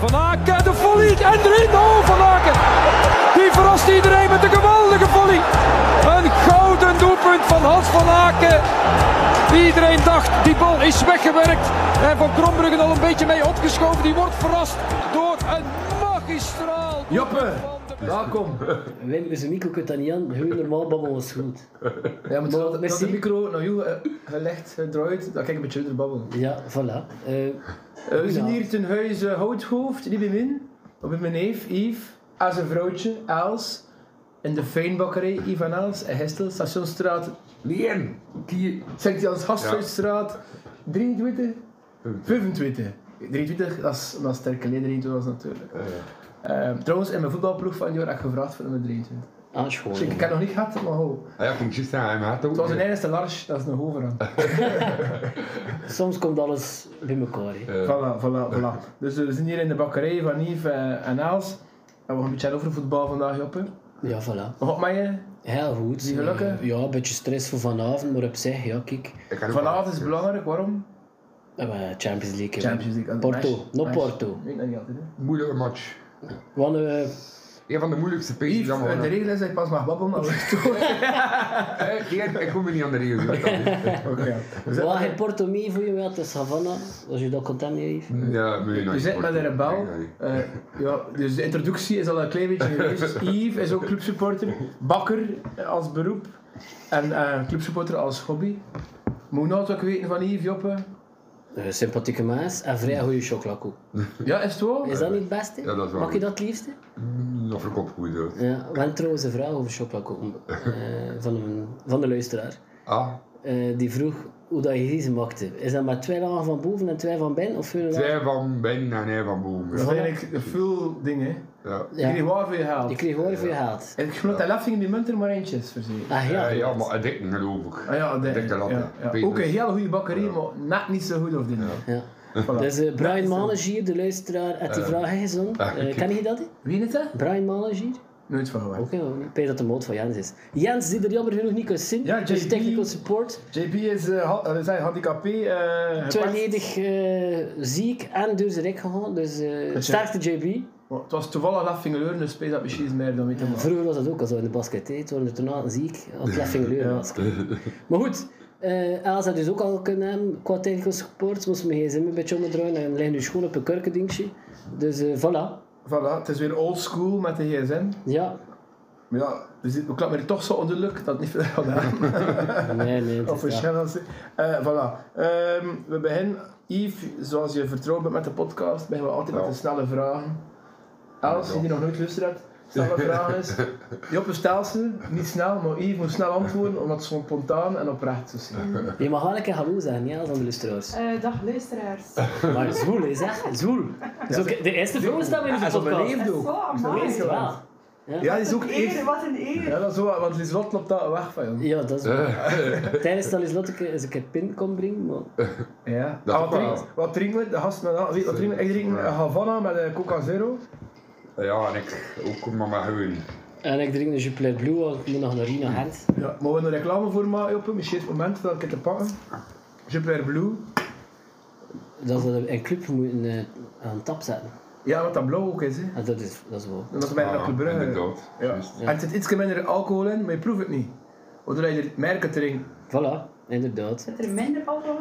Van Aken, de volley en erin. Oh, Van Aken. Die verrast iedereen met een geweldige volley. Een gouden doelpunt van Hans van Aken. Iedereen dacht, die bal is weggewerkt. En Van Krombruggen al een beetje mee opgeschoven. Die wordt verrast door een magistraal. Joppe, welkom. Wim, met zijn micro kunt dat niet aan. Gewoon normaal babbelen is goed. Ja, maar Maar, toen had merci. de micro naar jou eh, gelegd, gedraaid, dan kijk ik met jullie te babbelen. Ja, voilà. Eh, Eh, we zijn Ja. hier ten huize Houthoofd, die bij min. Op met mijn neef, Yves, en zijn vrouwtje, Els. In de Fijnbakkerij, Yves en Els, en Gestel, Stationstraat, Lien, die Sint-Jans Gasthuisstraat, 23, 25. 23, dat is omdat sterke leden toen was natuurlijk. Eh, trouwens, in mijn voetbalploeg van die jaar heb ik gevraagd voor nummer 23. aanschoon. Dus ik, ik heb nog niet gehad, maar ho. Ah ja, kom ik juist aan hem had ook. Het was een eerste Lars, dat is nog over aan. Soms komt alles bij elkaar. hè. Voilà, voilà, voilà. Dus eh, we zijn hier in de bakkerij van Yves eh, en Els. En we gaan een beetje over voetbal vandaag, Joppe. Ja, voilà. Wat eh? met je? Heel goed. Zie je gelukkig? Eh, ja, een beetje stress voor vanavond, maar op zich, ja, kijk. Ik kan ook wel. Vanavond is belangrijk, waarom? Eh, maar Champions League. hè, Wim. Champions League. Porto, nog Match. Porto. Weet dat niet altijd, hè. moeilijke match. Want, eh, Een van de moeilijkste paces Yves, eh, de regel is dat je pas mag babbelen als ik het hoor. Eh, Ik kom er niet aan de regels. weet dat niet. Oké. We waar zitten- heb Porto mee voor je? Ja, het is Havana. Was je dat content mee, Yves? Ja, nee, nee. We zitten met een rebel. nou Nee, nee. Eh, ja, dus de introductie is al een klein beetje geweest. Yves is ook clubsupporter. Bakker eh, als beroep. En eh, clubsupporter als hobby. Moet je nou wat weten van Yves, Joppe? Eh, sympathieke mens en vrij goede chocolakoek. Ja, is het wel? Is dat niet het beste? ja, dat is wel Mag je goed. dat het liefste? Mm, Nog verkoopt goed hoor. Ja, we hebben trouwens een vraag over chocolakoek eh, van, een- van de luisteraar. Ah, Eh, die vroeg hoe dat je deze maakte. Is dat met twee lagen van boven en twee van binnen? Of veel lagen? zij van Ben en hij van Boom. Dat Ja. is eigenlijk veel dingen. Ja. Ja. Je kreeg Ja. waar voor je geld. Ik kreeg hoor voor je haat. En ik geloof dat Leffing in die munt er maar eentje is verzekerd. Ah ja, Ja, Eh, ja, klopt. maar het dikke geloof ik. Ah ja, de, Dikke latte. ja, ja. Peters. Ook een heel goede bakkerij, Ja. maar net niet zo goed of dit. Ja. Voilà. Dus eh, Brian is zo. Manage hier, de luisteraar, heeft die Eh, vraag ingezond. ah, Eh, ik- ken je dat? hè? Wie is dat? Brian Manage hier? Nooit van gehoord. Oké, hoor. ik weet dat de moot van Jens is. Jens, die er jammer genoeg niet kan zien, Ja, is JP. technical support. JP is eh ha- eh, zijn handicapé. eh, gepakt. Tweeledig eh, ziek en door zijn rek gegaan, dus eh Dat sterkte JB. Maar Het was toevallig Leffing Leur, dus speelt dat precies meer dan weet je maar. Vroeger was dat ook al zo in de basket, hè. toen de toernooi ziek, had Leffing Ja. Leur basket. Maar goed, eh Els had dus ook al kunnen hebben, qua technical support, moest mijn gsm een beetje omdraaien en liggen nu schoon op een kurkendingetje. Dus eh, voilà, Voilà, het is weer old school met de gsm. ja. Maar ja, we, zitten- we klappen er toch zo onder de luk dat het niet veel gaat hebben. Nee, nee, het is Of dat. verschil als... Eh, voilà. Ehm, we beginnen, Yves, zoals je vertrouwd bent met de podcast, beginnen we altijd Ja. met de snelle vragen. Els, Ja. die nog nooit lust hebt, snelle vragen is... Joppe stel ze, niet snel, maar Yves moet snel antwoorden, omdat het zo spontaan en oprecht zou zijn. Je mag wel een keer hallo zeggen, ja, als aan de luisteraars. Eh, dag luisteraars. Maar zwoel, is echt zwoel. Dus ook de eerste vrouw staan we in Hij is de op een podcast. leefd ook. Zo, Is dat amai. leefd ook? Wel, Ja, dat is ook Wat een eer, eer. wat een eer. Ja, dat is zo, want Lislot loopt daar weg van, joh. Ja, dat is waar. Eh, Tijdens dat is Lotte eens een keer pin kon brengen, maar... Ja. Dat Ah, ook wat, wel. drinkt, wat drinken we? De gast met... ah, Wat drinken we? Ik drink een Havana met eh, Coca Zero. Ja, en ik ook maar maar gewoon. En ik drink een Jupiler Blue, want ik moet nog naar Rina Gent. Ja, maar we een reclame voor maken, Joppe. Misschien is het moment dat ik het te pakken. Jupiler Blue. Dat we een club moeten eh, aan tap zetten. Ja, wat dat blauw ook is, hè. En Ah, dat is, dat is wel... Dat is bijna Ah, op de brug. Inderdaad. Ja. Juist. En er zit iets minder alcohol in, maar je proeft het niet. Waardoor je er merken drinkt. Voilà, inderdaad. Zit er minder alcohol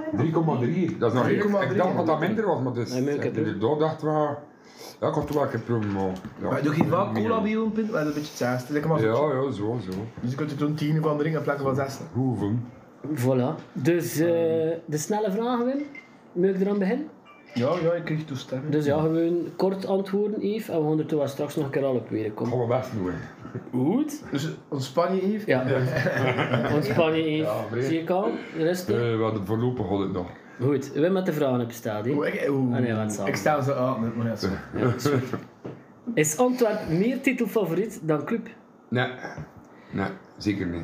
in? 3,3. Dat is nog 3,3. Ik dacht dat dat minder was, maar dus. Nee, maar ik heb- Inderdaad dacht wel. Ja, ik had toen wel geprobeerd, maar. ja. Maar doe je wel Meer. cola bij je punt, maar dat is een beetje hetzelfde. Lekker maar zo. Ja, ja, zo, zo. Dus je kunt er toen tien van drinken in plaats van zes. Hoeven. Voilà. Dus eh, de snelle vragen, Wim. Moet ik eraan beginnen? Ja, ja, ik kreeg toestemming. Dus ja, gewoon kort antwoorden, Yves. En we gaan er toen wel straks nog een keer al op weer komen. Gaan we best doen. hè. Goed. Dus ontspan je, Yves. Ja. Ontspan je, Yves. Ja, breed. Zie je kalm? Rustig. Eh, wat voorlopig had het nog. Goed, Wim met de vragen op staat. hè. Oeh, ik, oeh. Ah, nee, laat staan. ik stel ze aan, maar ja, sorry. Is Antwerp meer titelfavoriet dan club? Nee. Nee, zeker niet.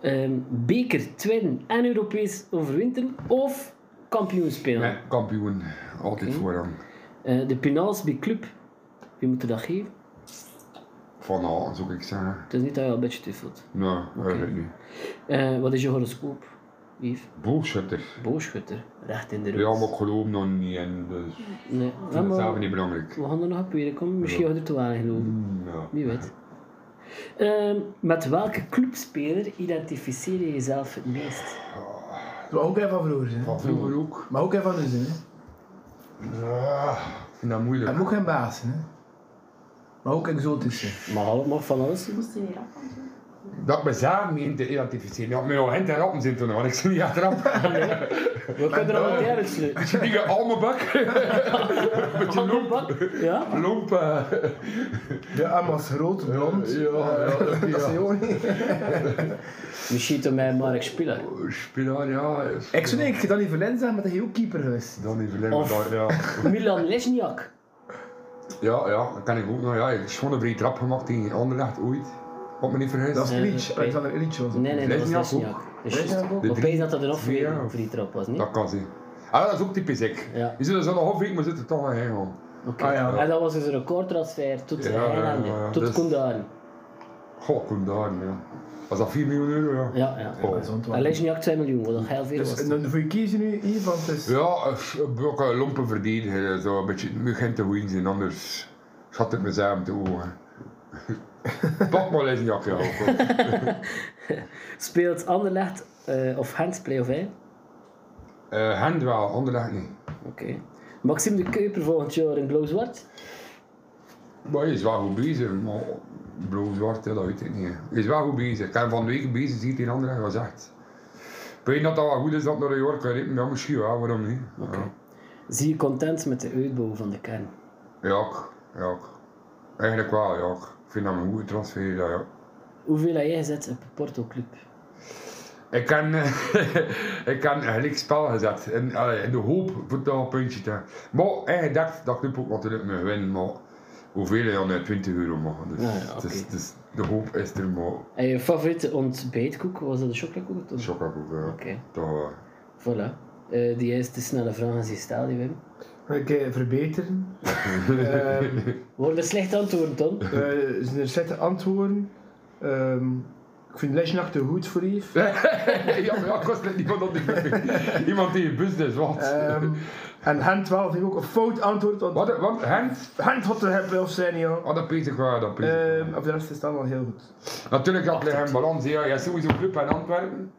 Ehm, beker, twin en Europees overwinteren of kampioen spelen? Nee, kampioen. Altijd vooraan. Eh, de penals bij club, wie moet er dat geven? Vanavond, zou ik zeggen. Het is niet dat je al een beetje twijfelt. Nee, eigenlijk niet. Eh, wat is je horoscoop? Yves. Boogschutter. Booschutter. Recht in de roos. Ja, maar ik geloof nog niet en dus... Ik Nee. Ja, vind het maar zelf niet belangrijk. we gaan er nog op proberen komen. Misschien gaat er te weinig geloven. Mm, Ja. Wie weet. Ehm, met welke clubspeler identificeer je jezelf het meest? Dat was ook een van vroeger. Hè. Van vroeger ook. Maar ook een van de zin. Hè. Ah, ik vind dat moeilijk. En ook geen baas. Hè. Maar ook exotische. Maar mag van alles. Ze moesten Dus niet af. Dat mezelf niet te identificeren. Ja, mijn agent en rappen zitten toen, want ik zit niet aan het rappen. We kunnen er allemaal uitsluiten. Ik die al mijn bak. Beetje loop. Ja? Loop. eh. De Amas rood, blond. Ah, Ja, ja, dat is ja. ook niet. Misschien toch mij Mark Spiller. Spinaar, ja. Ik zou denk ik Danny Verlijn zeggen, maar dat hij ook keeper geweest. Dan even lekker Of- daar, ja. Milan Lesniak. Ja, ja, dat kan ik ook nog. Ja, ik heb gewoon een brede trap gemaakt in Anderlecht ooit. Op me niet vergis. Dat was Eh, Illich. oké. Alexander Illich was het. Nee, nee, dat was Lesniak ook. Lesniak. Dat is juist. Lesniak ook. Maar De opeens dat dat er nog drie- voor die trap was, niet? Dat kan ze. Ah, dat is ook typisch ik. Ja. Je zit er zo nog half week, maar zit er toch aan heen gaan. Oké. Ah, ja. En dat was dus een recordtransfer tot Ja, ja, Eilanden, ja, ja. tot Dus- Koendaren. Goh, kom daar, ja. Was dat 4 miljoen euro, ja? Ja, ja. Oh. Dat is ontwaar. En Lesniak 2 miljoen, wat nog heel veel Dus was. en dan voor je kiezen nu hier, want het is... Ja, eh, ik heb ook eh, lompen verdedigen. eh, Zo een beetje, nu geen te goed zijn, anders schat ik mezelf te ogen. Pak maar eens een jakje ook. Speelt Anderlecht eh, of Gent play-off 1? Eh Hand wel, Anderlecht niet. Oké. Maxime de Keuper volgend jaar in blauw-zwart. Maar hij is wel goed bezig, maar blauw-zwart, hè, dat weet ik niet. hè. Hij is wel goed bezig. Ik heb hem van de week bezig ziet in Anderlecht gezegd. Ik weet dat dat wel goed is dat naar New York rijdt, maar ja, misschien wel, waarom niet? Ja. Zie je content met de uitbouw van de kern? Ja, ik- ja. ik. Eigenlijk wel, ja. ik. Ik vind dat een goede transfer, ja, ja. Hoeveel heb jij gezet op de Porto Club? Ik kan, ik kan gelijk spel gezet. In, allee, in de hoop voor dat puntje te hebben. Maar eigenlijk dacht dat club ook natuurlijk me winnen, maar hoeveel ja, net 20 euro mogen. Dus, Ja, ja, het is- oké. het is- de hoop is er, maar En je favoriete ontbijtkoek, was dat de chocoladekoek? toen? chocaboek. Ja. Oké. Toch wel. Voilà. Eh, die eerste snelle vraag is die stel die Wim. Een keer verbeteren. Eh. Ehm, Worden slecht antwoorden dan? eh, zijn er zette antwoorden. Ehm, ik vind Lesjnak te goed voor Yves. ja, maar ja, ik was net iemand op die Iemand die in bus is, wat? Eh. Ehm, en Hent wel, vind ik ook een fout antwoord. Want wat, wat, Hent? Hent had er wel zijn, joh. Oh, dat Peter Kwaad, dat Peter Eh, Kwaad. Ehm, Of de rest is het allemaal heel goed. Natuurlijk had hij een balans, ja. Hij is sowieso club in Antwerpen.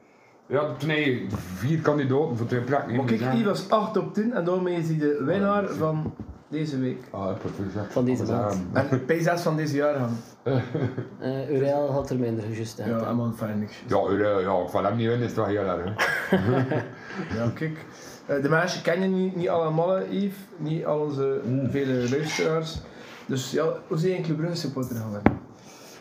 Ja, toen heb je vier kandidaten voor twee plekken. Maar kijk, Ja. Yves was 8 op 10 en daarmee is hij de winnaar van deze week. Ah, dat heb ik gezegd. Van deze Alles maand. aan. En P6 van deze jaar gaan. Eh Urel had er minder juist aan. Ja, allemaal fijn niks. Ja, eh, ja, van hem niet winnen is toch heel erg. Ja, kijk. Eh, De meisjes ken je niet, niet allemaal, hè, Yves. Niet al onze Mm. vele luisteraars. Dus ja, hoe zijn je Club Brugge supporter gaan worden?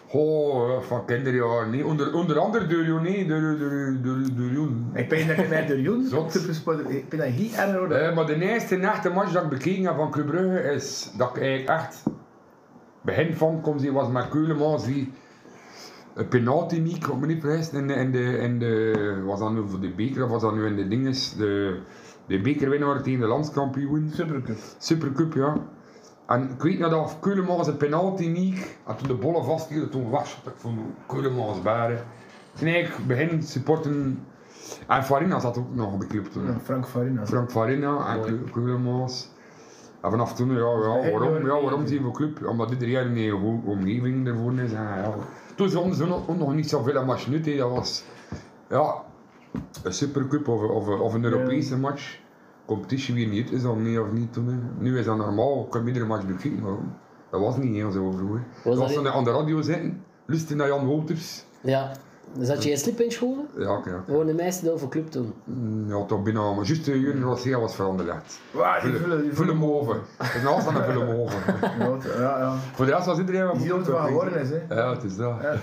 Goh, eh, van kinderjaren. Nee. Onder, onder andere door Joné, door, door, door, door Joen. Ik ben dat ik mij door Joen Zot. supporter... Ik ben dat heel erg hoor. Eh, maar de eerste echte match dat ik bekeken heb van Club Brugge is dat ik eigenlijk echt begin van kom zien was met Keulemans die een penalty niet, ik me niet vergis, in de, in de, in de, was dat nu voor de beker of was dat nu in de dinges, de, de bekerwinnaar tegen de landskampioen, Supercup. Supercup ja. En ik weet nog dat Keulemans een penalty niet, en toen de bollen vasthielden, toen was ik van Keulemans baren. Toen eigenlijk begin supporten, en Farina zat ook nog op de club toen. Ja, Frank Farina. Mm. Frank Farina en Kulemans. En vanaf toen, ja, ja, waarom, ja, waarom die voor club? Omdat iedereen in een goede omgeving ervoor is. En, ja. Toen stonden ze nog, ook nog niet zoveel aan match nut, hè. dat was ja, een supercup of, of, of een Europese match. Competitie wie niet is dan niet of niet toen. hè. Nu is dat normaal, ik heb iedere match bekeken, maar dat was niet heel zo vroeger. dat Dat was niet- toen aan de radio zitten, lusten naar Jan Wolters. Ja. Zat je in slip in school? Ja, oké, ja. We woonden meestal over club toen. Ja, toch bijna, maar juist de Jurgen Rossia was veranderd. Waar, die vullen... Die Vul hem over. Het is naast aan de vul hem over. Ja, wat- ja, ja. Voor de rest was iedereen wel Je ziet ook wat geworden is, hè. Ja, het is dat. Ja.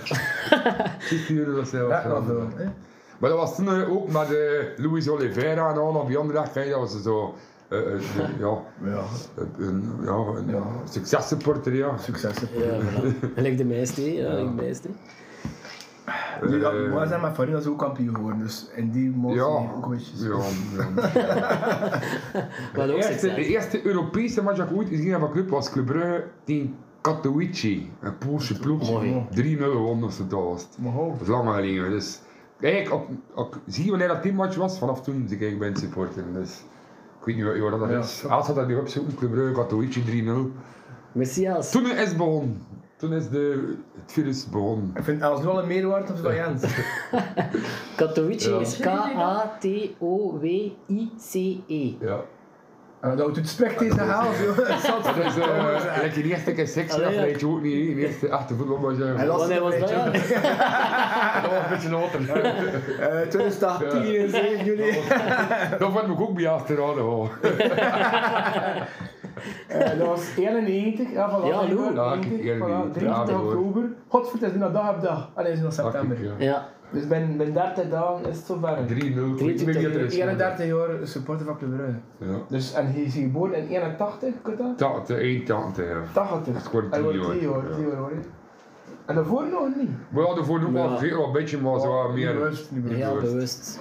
Juist de Jurgen Rossia was Ja, dat wel, veranderd. hè. Maar dat was toen eh, ook met eh Luis Oliveira en al op die andere dag. kijk, Dat was zo... eh, eh, de- ja, Ja, een, een- ja, een ja, successupporter, ja. succes. hè. Ja, voilà. Gelijk de meeste, hè. ja, gelijk de meeste. Nu dat Eh. we zijn met Farina is ook kampioen geworden, dus in die motie Ja. ook een beetje... ja, Wat De, ook eerste, de succes. eerste Europese match dat ik ooit gezien heb van club was Club Brugge tegen Katowice. Een Poolse ploeg. Mooi. 3-0 gewonnen of zo dat was het. Maar ho. Dat is lang geleden. Dus Kijk, op, op, zie je wanneer dat teammatch was? Vanaf toen zit ik bij een supporter. Dus ik weet niet wat jaar dat Ja. is. Als had dat nu opzoeken, Club Brugge, Katowice 3-0. Messias. Toen is het begonnen. Toen is de, het virus begonnen. Ik vind Els nu al een meerwaarde of dat Jens. Katowice Ja. is K-A-T-O-W-I-C-E. Ja. En dat doet spreekt deze haal, joh. Zat. Dat is eh, gelijk in de eerste keer seks, Allee, dat ja. weet je ook niet. hè. In de eerste achtervoetbal Oh, was Hij je... las Wanneer was dat? Ja. Dat was een beetje noten. Eh, 2018, 7 juli. Dat vond ik ook bij achterhouden. hoor. Eh, dat was 91, ja, van Ja, hallo. Ja, ik heb 91, voilà, 91, 23 ja, hoor. oktober. Godverdomme, het is bijna dag op dag. Allee, het is nog september. Ja. ja. Dus binnen binnen 30 dagen is het zover. 3-0. Ik eh, weet niet wat er is. 31 jaar supporter van Club Brugge. Ja. Dus, en hij is geboren in 81, kunt dat? Tante, één tante. ja. 80. Het wordt Hij wordt drie drie jaar. jaar, drie jaar hoor. En daarvoor nog niet. We hadden voor nu Ja. wel veel, wel een beetje, maar ze waren Niet meer bewust, niet bewust. Heel Bewust. bewust.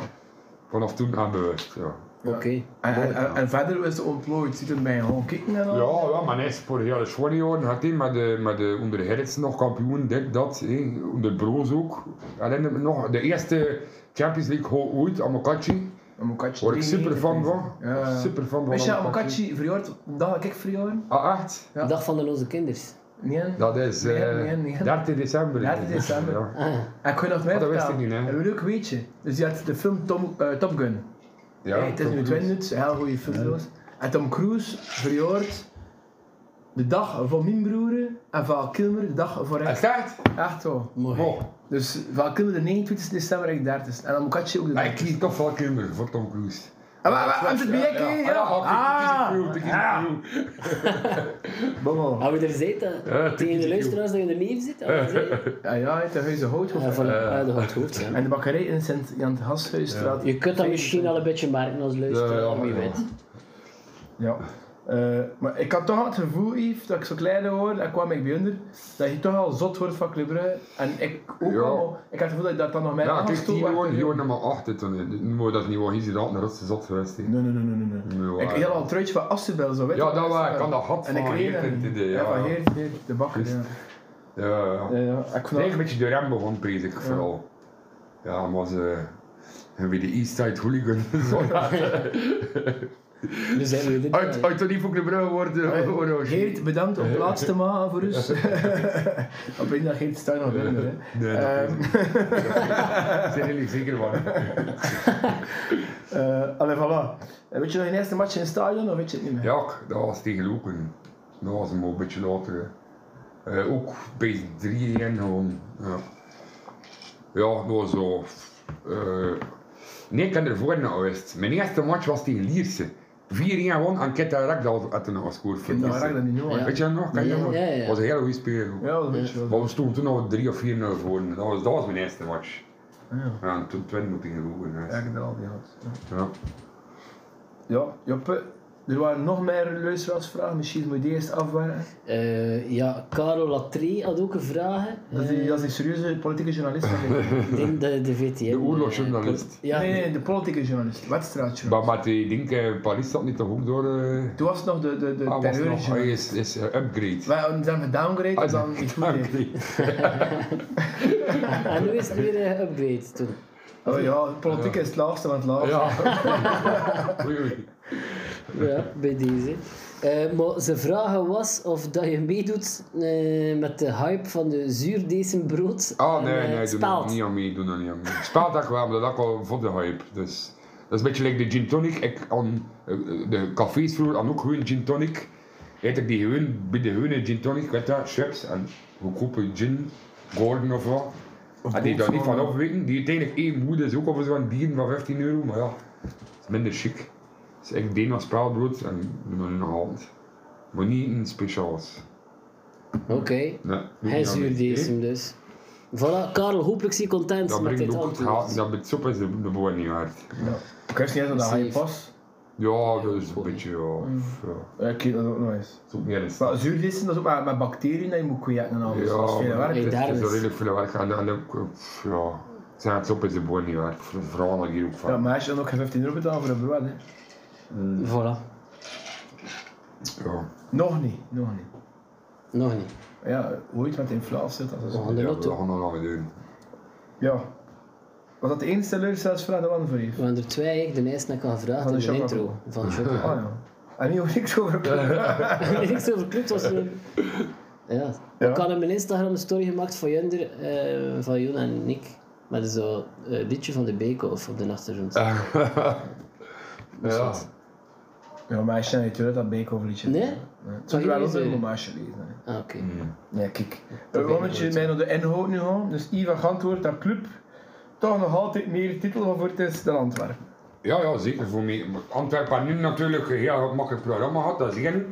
vanaf toen aan bewust. Ja, Oké. En, en- en- en verder was het ontplooid. Ziet het mij gewoon kicken en al. ja, ja maar hij is vorig jaar de Schwannion, had hij met, de, met de onder Herits nog kampioen, dit, dat, hè, onder Broos ook. Herinner me nog de eerste Champions League goal ooit, Amokachi, Amokachi waar ik super 93 fan geweest. van. Ja. Super fan van Weet je, Amokachi. Amokachi verjaard, dat had ik verjaard. Ah, echt? Ja. Dag van de loze kinders. Nee. Dat is eh, Nee, nee, nee. 13 december. 13 december. Ja. Ah, En ik kon nog meer dat wist vertellen. ik niet, hè. Een leuk weetje. Dus die had de film Tom, eh, Top Gun. Ja, Hey, het is Tom nu Cruise. 20 minuten, een heel goede film trouwens. En Tom Cruise verjaart de dag van mijn broer en Val Kilmer de dag voor hem. Is dat? Echt zo. mooi. Oh, Dus Val Kilmer de 29 december en ik 30 En dan Mokatje ook de maar 30 ik kies toch wel Kimber voor Tom Cruise. Ah, maar- maar- Am zit bij Ja, jij, ja. Ah, Ah, ik kies een crew, ik kies ah. een crew. Bommel. Hou je er zit, hè? Ja, tegen de die- luisteraars dat je er niet zit? Ah, zei- Ja, ja, het huis hout. Ah, van uit de hard hoofd. ja. En de bakkerij in Sint-Jan de Hashuisstraat. Je kunt dat misschien al een beetje merken als Ja, luisteraar, ja, wie ja. weet. Ja. Eh, maar ik had toch al het gevoel, Yves, dat ik zo klein word, en kwam ik bij onder, dat je toch al zot wordt van Club Brugge. En ik ook Ja. al, ik had het gevoel dat ik dat dan nog mijn Ja, angst kijk, die toe woorden werd. die woorden nummer 8. Toen moet dat niet wel hier zit altijd een rotse zot geweest. hè. Nee, nee, nee, nee, nee. Nee, waar. Ik had al een truitje van Assenbel, zo weet Ja, je, dat waar, Assenbel. ik had dat gehad En van ik reed Heert in en- de- Ja, ja. van Heert, Heert, de bakker, ja. Eh, Juist. Ja, ja. Ja, ja. Ik vond Nee, een dat... beetje de rem begon bezig, vooral. Ja, maar ze. En wie de East Side Hooligan. Zo, ja. Nu zijn Dus we dit. Uit, uit Tony Fokker Brugge worden oranje. Geert, bedankt op plaats te maken voor ons. op één dag Geert Stein nog binnen, hè. Nee, dat Ehm. weet ik. Daar zijn jullie zeker van. Eh, allee, voilà. Eh, Weet je nog je eerste match in het stadion, of weet je het niet meer? Ja, k- dat was tegen Loken. Dat was hem al een beetje later. hè. Eh, ook bij 3 en gewoon. Ja. ja, dat was zo. eh, nee, ik ben ervoor naar geweest. Mijn eerste match was tegen Lierse. 4 1 won en Ketarak dat had nog gescoord voor Ik heb dat Lierse. raak dat niet Ja. nodig. Weet je dat nog? Kan je dat Ja, nog? ja, ja. was een hele goede speler. ook. Ja, dat weet je wel. Maar we stonden toen nog 3 of 4-0 voor. Dat was, dat was mijn eerste match. Ah, Ja. Ja, en toen 20 nog tegen Loken. hè. Ja, ik heb dat al niet gehad. Ja. Ja. Ja, Joppe, er waren nog meer luisteraarsvragen. Misschien moet je die eerst afwerken. Eh, ja, Karel Latree had ook een vraag. hè. Eh, Dat is die, dat is die serieuze politieke journalist. denk ik. Ik denk dat het de VTM... De eh, oorlogsjournalist. port- Ja, Nee, nee, de politieke journalist. Wedstrijdjournalist. Maar, maar die ding, eh, Paris zat niet toch ook door. eh, Toen was het nog de, de, de Ah, Ah, was nog, hij terreurjournalist. is, is eh, upgrade. Wij hebben hem gedowngrade en dan iets goed deed. upgrade. En nu is het weer een upgrade toen. Oh ja, politiek is het laagste van het laagste. Ja. Oei, oei. Ja, bij deze. Eh, maar zijn vraag was of dat je meedoet eh, met de hype van de zuurdesembrood. Ah, en, nee, eh, nee, doe spelt. nog niet aan mee, doe nog niet aan mee. Spaat dat ik wel, maar dat ik al voor de hype. Dus, dat is een beetje like de gin tonic. Ik aan eh, de cafés vroeger aan ook gewoon gin tonic. Heet ik die gewoon, bij de gewone gin tonic, weet dat, chips en goedkope gin, Gordon of wat. en die daar niet van opweken, die uiteindelijk één moed is ook over zo'n dier van 15 euro, maar ja, het is minder chic. Dus ik deed nog spaalbrood en doe nog een hand. Maar niet een speciaals. Oké, Nee, doe hij ik niet aan mee. zuurdesem dus. Voilà, Karel, hopelijk zie je content Dat met brengt dit ook het antwoord. haat, dat met soep is de, de boer niet waard. Ik wist niet eens dat hij Safe. pas. Ja, dat is een beetje, ja. Mm. pff, ja. Ja, ik weet dat ook nog eens. Het is ook meer een Maar zuurdissen, dat is ook maar met bacteriën dat je moet kweken en alles. dat is Ja, veel maar werk. het is- Hey, daar het is wel is- redelijk veel werk. En, en, en, pff, ja, het zijn soep is de boer niet waard. Voor- Vooral nog hier ook Ja, van. maar als je dan ook geen 15 euro betaalt voor een brood, hè. Voilà, Ja, Nog niet, nog niet. nog niet. Oh, Ja, ooit met de inflatie, dat is Aan de ja we lotto. gaan nog lang doen. Ja. Was dat de enige luisteraarsvraag dat we hadden voor je? We hadden er twee, de meeste heb ik al gevraagd Van in de de Chocobo. intro van Chocobo. Ah ja. En niet over niks over Niks over clubs was er. Ja. Ja. Ik had op mijn Instagram een story gemaakt van Junder, eh, van Jon en Nick. Met zo'n eh, liedje van de Bake-Off op de achtergrond. ja. Ja, meisje, nee, natuurlijk dat Beethoven-liedje. Nee? Het zou je wel jullie ook een zijn- hommage lezen. hè. Ah, oké. Nee, kijk. Dat We weet ik je niet. mij naar de inhoud nu gaan. Dus Ivan Gantwoord, dat club, toch nog altijd meer titel van voor het is dan Antwerpen. Ja, ja, zeker voor mij. Maar Antwerpen had nu natuurlijk een heel makkelijk programma gehad, dat is één.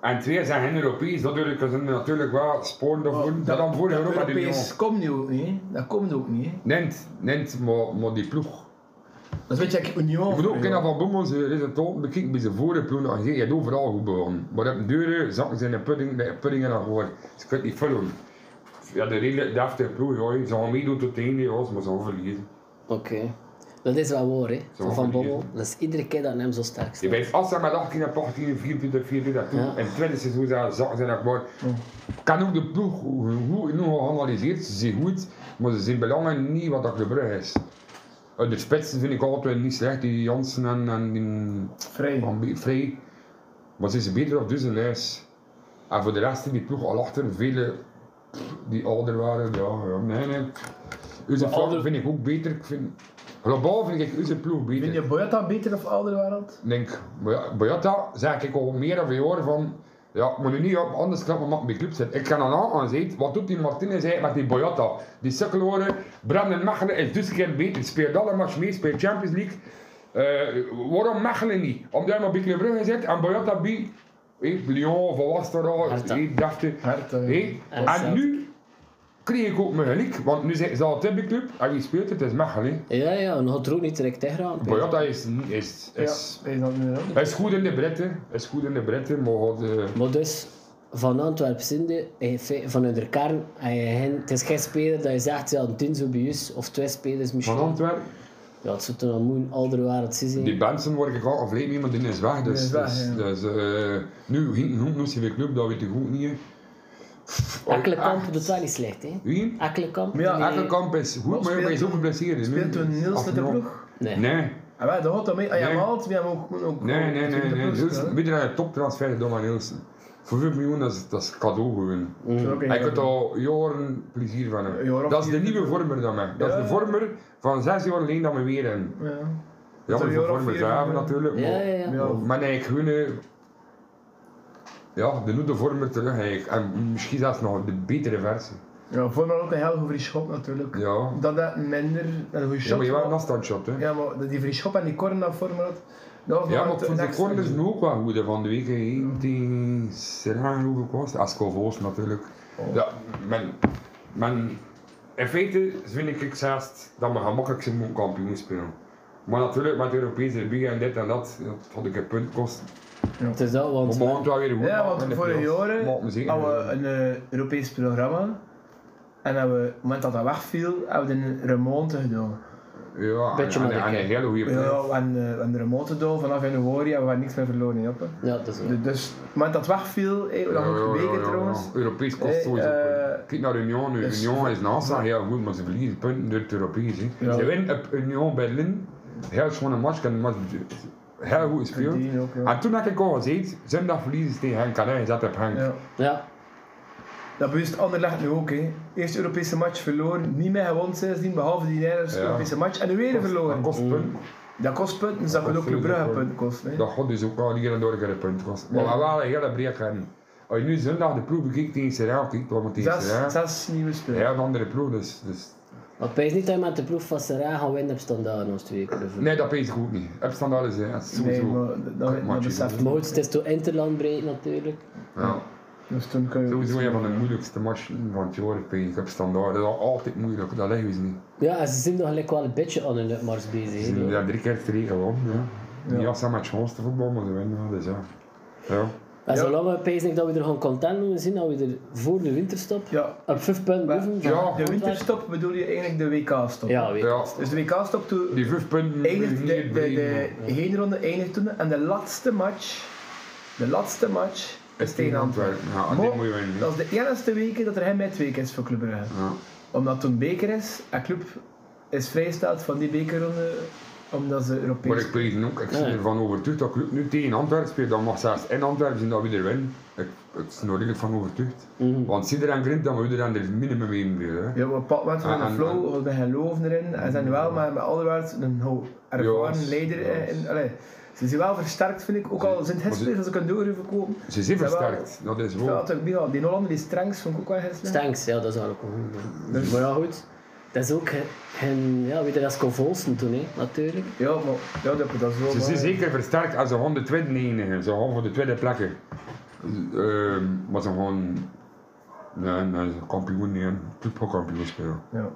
En twee zijn geen Europees, natuurlijk er zijn er natuurlijk wel sporen daarvoor. dat dan voor Europa de Oh, Europees Unie. komt nu ook niet. hè. Dat komt ook niet. hè. Neemt, neemt, maar, maar die ploeg. Dat weet je, ik Union. Ik bedoel, ook ja. in van Bommel zijn resultaat bekijk "Oh, bij zijn vorige ploeg. nog gezien, Je hebt overal goed begonnen. Maar op deuren zakken ze in de pudding, de pudding en dan gewoon. Ze kunnen niet vullen. Ja, de redelijk deftige ploeg, ja. Ze gaan meedoen tot het einde, ja, maar ze gaan verliezen. Oké. Dat is wel waar, hè? Zo Van Van verliezen. Bommel. Dat is iedere keer dat hem zo sterk Je staat. bent als ze met 18 en 18, 24, 24 toe. Ja. En het tweede seizoen zijn zakken ze naar boord. Kan ook de ploeg goed genoeg geanalyseerd, ze zijn goed, maar ze zijn belangen niet wat dat de brug is. Eh, De spitsen vind ik altijd niet slecht, die Jansen en, en die Vrij. van Be- Vrij. Maar ze zijn beter op dus lijst. En voor de rest in die ploeg al achter, vele die ouder waren, ja, ja. nee, nee. Onze ouder- ploeg vind ik ook beter. Ik vind, globaal vind ik onze ploeg beter. Vind je Boyata beter of Alderwereld? Ik denk, Boy- Boyata zeg ik al meer dan een jaar van. Ja, ik moet nu niet op anders klappen maar mijn club zit. Ik kan aan aan zeggen, wat doet die Martinez eigenlijk met die Boyata? Die sukkeloren, Brandon Mechelen is dus geen beter. Speelt alle match mee, speelt Champions League. Eh, waarom Mechelen niet? Omdat hij maar bij Club Brugge zit en Boyata bij eh, Lyon, Van Wassenaar, Hertha. eh, Dachten. Hart. Hé, En En nu kreeg ik ook mijn gelijk, want nu zitten ze al in mijn club en wie speelt het? Het is Mechelen. Ja, ja, en dan gaat er ook niet direct tegen aan. Boyata is, is, Ja, is is dat nu wel? hij is goed in de breedte, hij is goed in de breedte, maar had, eh, Maar dus, van Antwerpen zinde, in fe- vanuit de kern, en je hen- het is geen speler dat je zegt, ja, een tien zo bij ons, of twee spelers misschien. van Antwerpen. Ja, het zou toch al moeten, Alderwaard, Sissi. Die Benson word ik al afleid mee, maar die is weg. Dus, Die is weg, dus, ja. dus, eh, nu ging het nog weer club, dat weet ik ook niet. hè. Pff, als ik Akkelenkamp echt- doet wel niet slecht, hè? Wie? Akkelenkamp? Ja, die- Akkelenkamp is goed, maar speelt hij is ook toen- geblesseerd. hè. Nu Speelt toen Niels met de afgenomen. ploeg? Nee. Nee, Ah, wel, dat gaat dan mee. Ah, ja, Nee. Maalt, we hebben ook... ook nee, nee, ook nee. de nee. dus- ploeg Nielsen, spelen. Weet je dat je toptransfer doet aan Nielsen? Voor 5 miljoen, dat is, dat is cadeau gewoon. Zo, oké, Hij ja. kunt al jaren plezier van hebben. Ja, of dat is de vier- nieuwe vormer dan mij. Dat is de Ja. vormer van 6 jaar alleen dat we weer hebben. Ja. Ja, maar Zou je voor er ook vormen vier zagen van- natuurlijk. Ja, Maar, ja, ja. Ja. maar nee, ik gewoon, eh, Ja, de noede vormen terug eigenlijk. En misschien zelfs nog de betere versie. Ja, voor mij ook een heel goed free shop natuurlijk. Ja. Dat dat minder een goede shot Ja, maar je was. was een afstandshot, hè. Ja, Ja, maar dat die free shop en die corner dat voor me had. Dat was nog maar altijd voor een de extra corners ding. nu ook wel goed. hè. Van de week heen tegen Serrano, hoeveel kost Ascovos natuurlijk. Oh. Ja, men... men in feite vind ik ik zelfs dat we gemakkelijk zijn moeten kampioen spelen. Maar natuurlijk met Europese erbij en dit en dat, dat had ik een punt kost. Het is dat, Maar want... we gaan het wel weer goed Ja, maken in want de voor de playoffs. jaren Maakt me hadden zeker we niet uit. een eh, Europees programma. En hebben we, op het moment dat dat wegviel, hebben we een remonte gedaan. Ja, Beetje en, en, maar en dikke. een hele goede ploeg. Ja, en eh, een remonte gedaan vanaf januari hebben we daar niks meer verloren. hè, Joppe. Ja, dat is wel. Dus- Dus op het moment dat het wegviel, hey, we Ja, hadden ja, het ja, weken ja, trouwens. ja. Europees kost Hey, sowieso eh, punten. Kijk naar Union. nu. dus- Union is naast dat heel goed, maar ze verliezen punten door het Europees. hè. Ja. Ze winnen op Union Berlin. Heel schone match. Kan de match heel goed gespeeld. Die ook, ja. En toen had ik al gezegd, zondag verliezen ze tegen Henk Carré gezet op Henk. Ja. Ja, Dat bewust Anderlecht nu ook. Hè. Eerst Europese match verloren, niet meer gewonnen sindsdien, behalve die Nederlandse Ja. Europese match. En weer Dat verloren. kost punten. Dat kost punten, dus dat Dat moet ook kost Club Brugge sowieso punten kosten. hè. Dat god dus ook al hier en door een punt kost. Maar Ja. we waren wel een hele breed hebben. Als je nu zondag de proef bekijkt tegen Serraal, kijk wat moet tegen Zes, Serraal. zes nieuwe spelers. Ja, een andere proef dus. dus maar ik weet niet dat je met de proef van Serra gaat winnen op standaard ons twee clubs. Nee, dat weet ik ook niet. Upstandaard is ja, Nee, sowieso. maar dat, dat, dat matchje. beseft Maar hij. goed, het is toch Interland breed natuurlijk. ja. Dus toen kun je... Sowieso een van de moeilijkste matchen van het jaar, vind ik. Upstandaard. Dat is altijd moeilijk, dat leggen we niet. Ja, en ze zijn nog gelijk wel een beetje aan hun mars bezig. Ze hè. hebben daar drie keer drie gewonnen. Ja. Ja. Die was aan met chance te voetballen, maar ze winnen wel, dus ja. Ja. En Ja. zolang we pijs ik dat we er gewoon content moeten zien, dat we er voor de winterstop Ja, op 5 punten Maar- boven Ja. van de winterstop bedoel je eigenlijk de WK-stop. Ja, weet ja. Dus de WK-stop toen Die vijf punten eindigt de, niet de, de breed, heenronde eindigt toen en de laatste match, de laatste match maar- is tegen Antwerpen. Ja, en die Maar moet je winnen. hè. Dat is de enigste week dat er geen midweek is voor Club Brugge. Ja. Omdat toen beker is en Club is vrijgesteld van die bekerronde omdat ze Maar Europees ik ben ook, ik ben Ja. ervan overtuigd dat Club nu tegen Antwerpen speelt. Dan mag zelfs in Antwerpen zijn dat we er winnen. Ik, ik ben er redelijk van overtuigd. Mhm. Want Sider en Grint, dan moeten we er aan minimum in willen. Ja, maar Pat werd van Ah, een en- flow, we geloven erin. En zijn wel, maar met Alderweireld een ho- ervaren Ja, leider. ja. In, allee, ze zijn wel versterkt, vind ik. Ook al zijn het Maar ze- spelers als ik een doorhoeven komen. Ze zijn Ze wel- versterkt, dat is Ja, wel. natuurlijk, Michal, die Hollander, die Strengs, vond ik ook wel gisteren. Stanks, ja, dat is wel ook een goeie. Maar ja, goed. Dat is ook geen, ja, weet je, dat is convulsen toen, hè, natuurlijk. Ja, maar ja, dat, dat is wel... Ze waar. zijn zeker versterkt als ze gaan de tweede enigen. Ze gaan voor de tweede plekken. Ehm, maar ze gaan... Nee, nee, ze gaan kampioen niet. Clubkampioen spelen. Ja.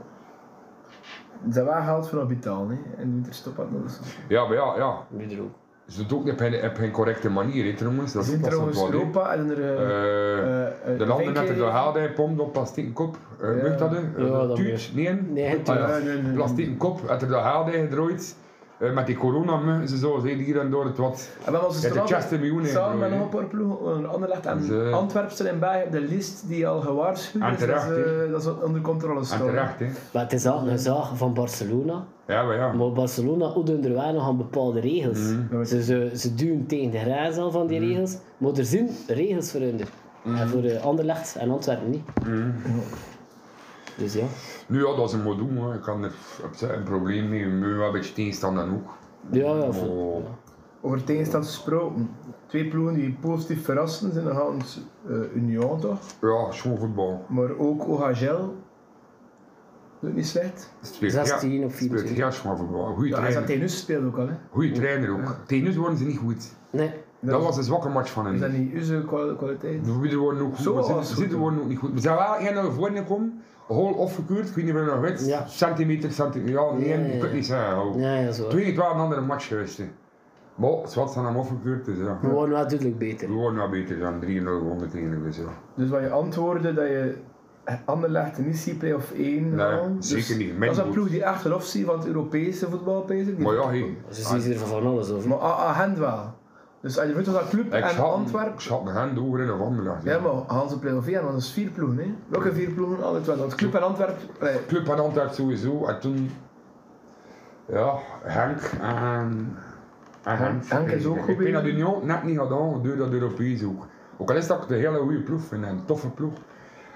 Ze hebben wel geld voor Abitaal, hè. En de winterstop had nodig. Ja, maar ja, ja. Wie er ook. Ze doen het ook op geen, op geen correcte manier, hè, trouwens. Dat Ze is zijn ook wel trouwens zo'n probleem. Europa en er... eh, Eh, eh, eh, De landen met de Vinken- doorhaalde pompt op plastieke kop. Ja. Uh, Weet dat? hè? Ja, dat Tuut, nee. Nee, het Ah, ja. Nee, nee, nee, nee. Plastieke kop, uit de doorhaalde gedrooid. Eh, met die corona ze zo, zijn hier en door het wat. En we hebben onze Ja, de straat- Chester miljoen in, Samen met broer, nog een paar ploegen, een ander legt aan Dus, eh, Antwerpse en bij op de lijst die al gewaarschuwd En is. dat terecht, ze- hè. dat ze onder controle En staan. terecht, hè. Maar het is al een zaag van Barcelona. Ja, maar ja. Maar Barcelona doet er wel nog aan bepaalde regels. Mm. Ze, ze, ze duwen tegen de grijs aan van die regels. Maar er zijn regels voor hun. Mm. En voor eh, Anderlecht en Antwerpen niet. Dus ja. Nu, ja, dat is een mooi doen, hoor. Ik kan er op zich een probleem mee. We hebben wel een beetje tegenstand dan ook. Ah, Ja, ja. Maar- voor- Over tegenstand gesproken. Twee ploegen die positief verrassen zijn nog altijd eh, Union toch? Ja, schoon voetbal. Maar ook Ogagel. Doet niet slecht. Speelt 16 ja, of 24. Speelt ja, schoon voetbal. Goeie Ja, hij zat trainer. tegen ons speelde ook al. Hè. Goeie trainer ook. Tegen ons worden ze niet goed. Nee. Dat was een zwakke match van Is hen. dat niet onze kwa- kwaliteit? De Rubider worden ook goed, Zo maar was zitten, het goed, zitten hè? worden ook niet goed. We zijn wel één naar voren gekomen, hol afgekeurd, ik weet niet meer nog weet, Ja. centimeter, centimeter, ja, nee, Ja, ik ja, kan het niet zeggen. Oh. Ja, ja, zo. Ik weet niet, het was een andere match geweest. hè. Maar zwart zijn hem afgekeurd, dus ja. We worden wel duidelijk We beter. worden wel beter dan 3-0 gewonnen tegen dus ja. Dus wat je antwoordde dat je Anderlecht niet ziet play of 1 Nee, halen. Dus zeker niet. Dat Mijn is een goed. ploeg die achteraf ziet van het Europese voetbal. bezig. Die Maar ja, hey, Ze zien er van alles over. Maar A- agent wel. Dus als je weet dat dat club ik en schat, ik Antwerp. schat mijn hand over in de wandeling. Ja, maar Hans op play-off want dat is vier ploegen. Hè. Welke vier ploegen? Altijd wel. Want club en Antwerp. eh, Club en Antwerp sowieso, en toen, ja, Henk en... en Henk, Henk is ook goed Ik bezig. ben dat Union net niet gedaan, door dat Europees ook. Ook al is dat ik een hele goede ploeg vind, en een toffe ploeg.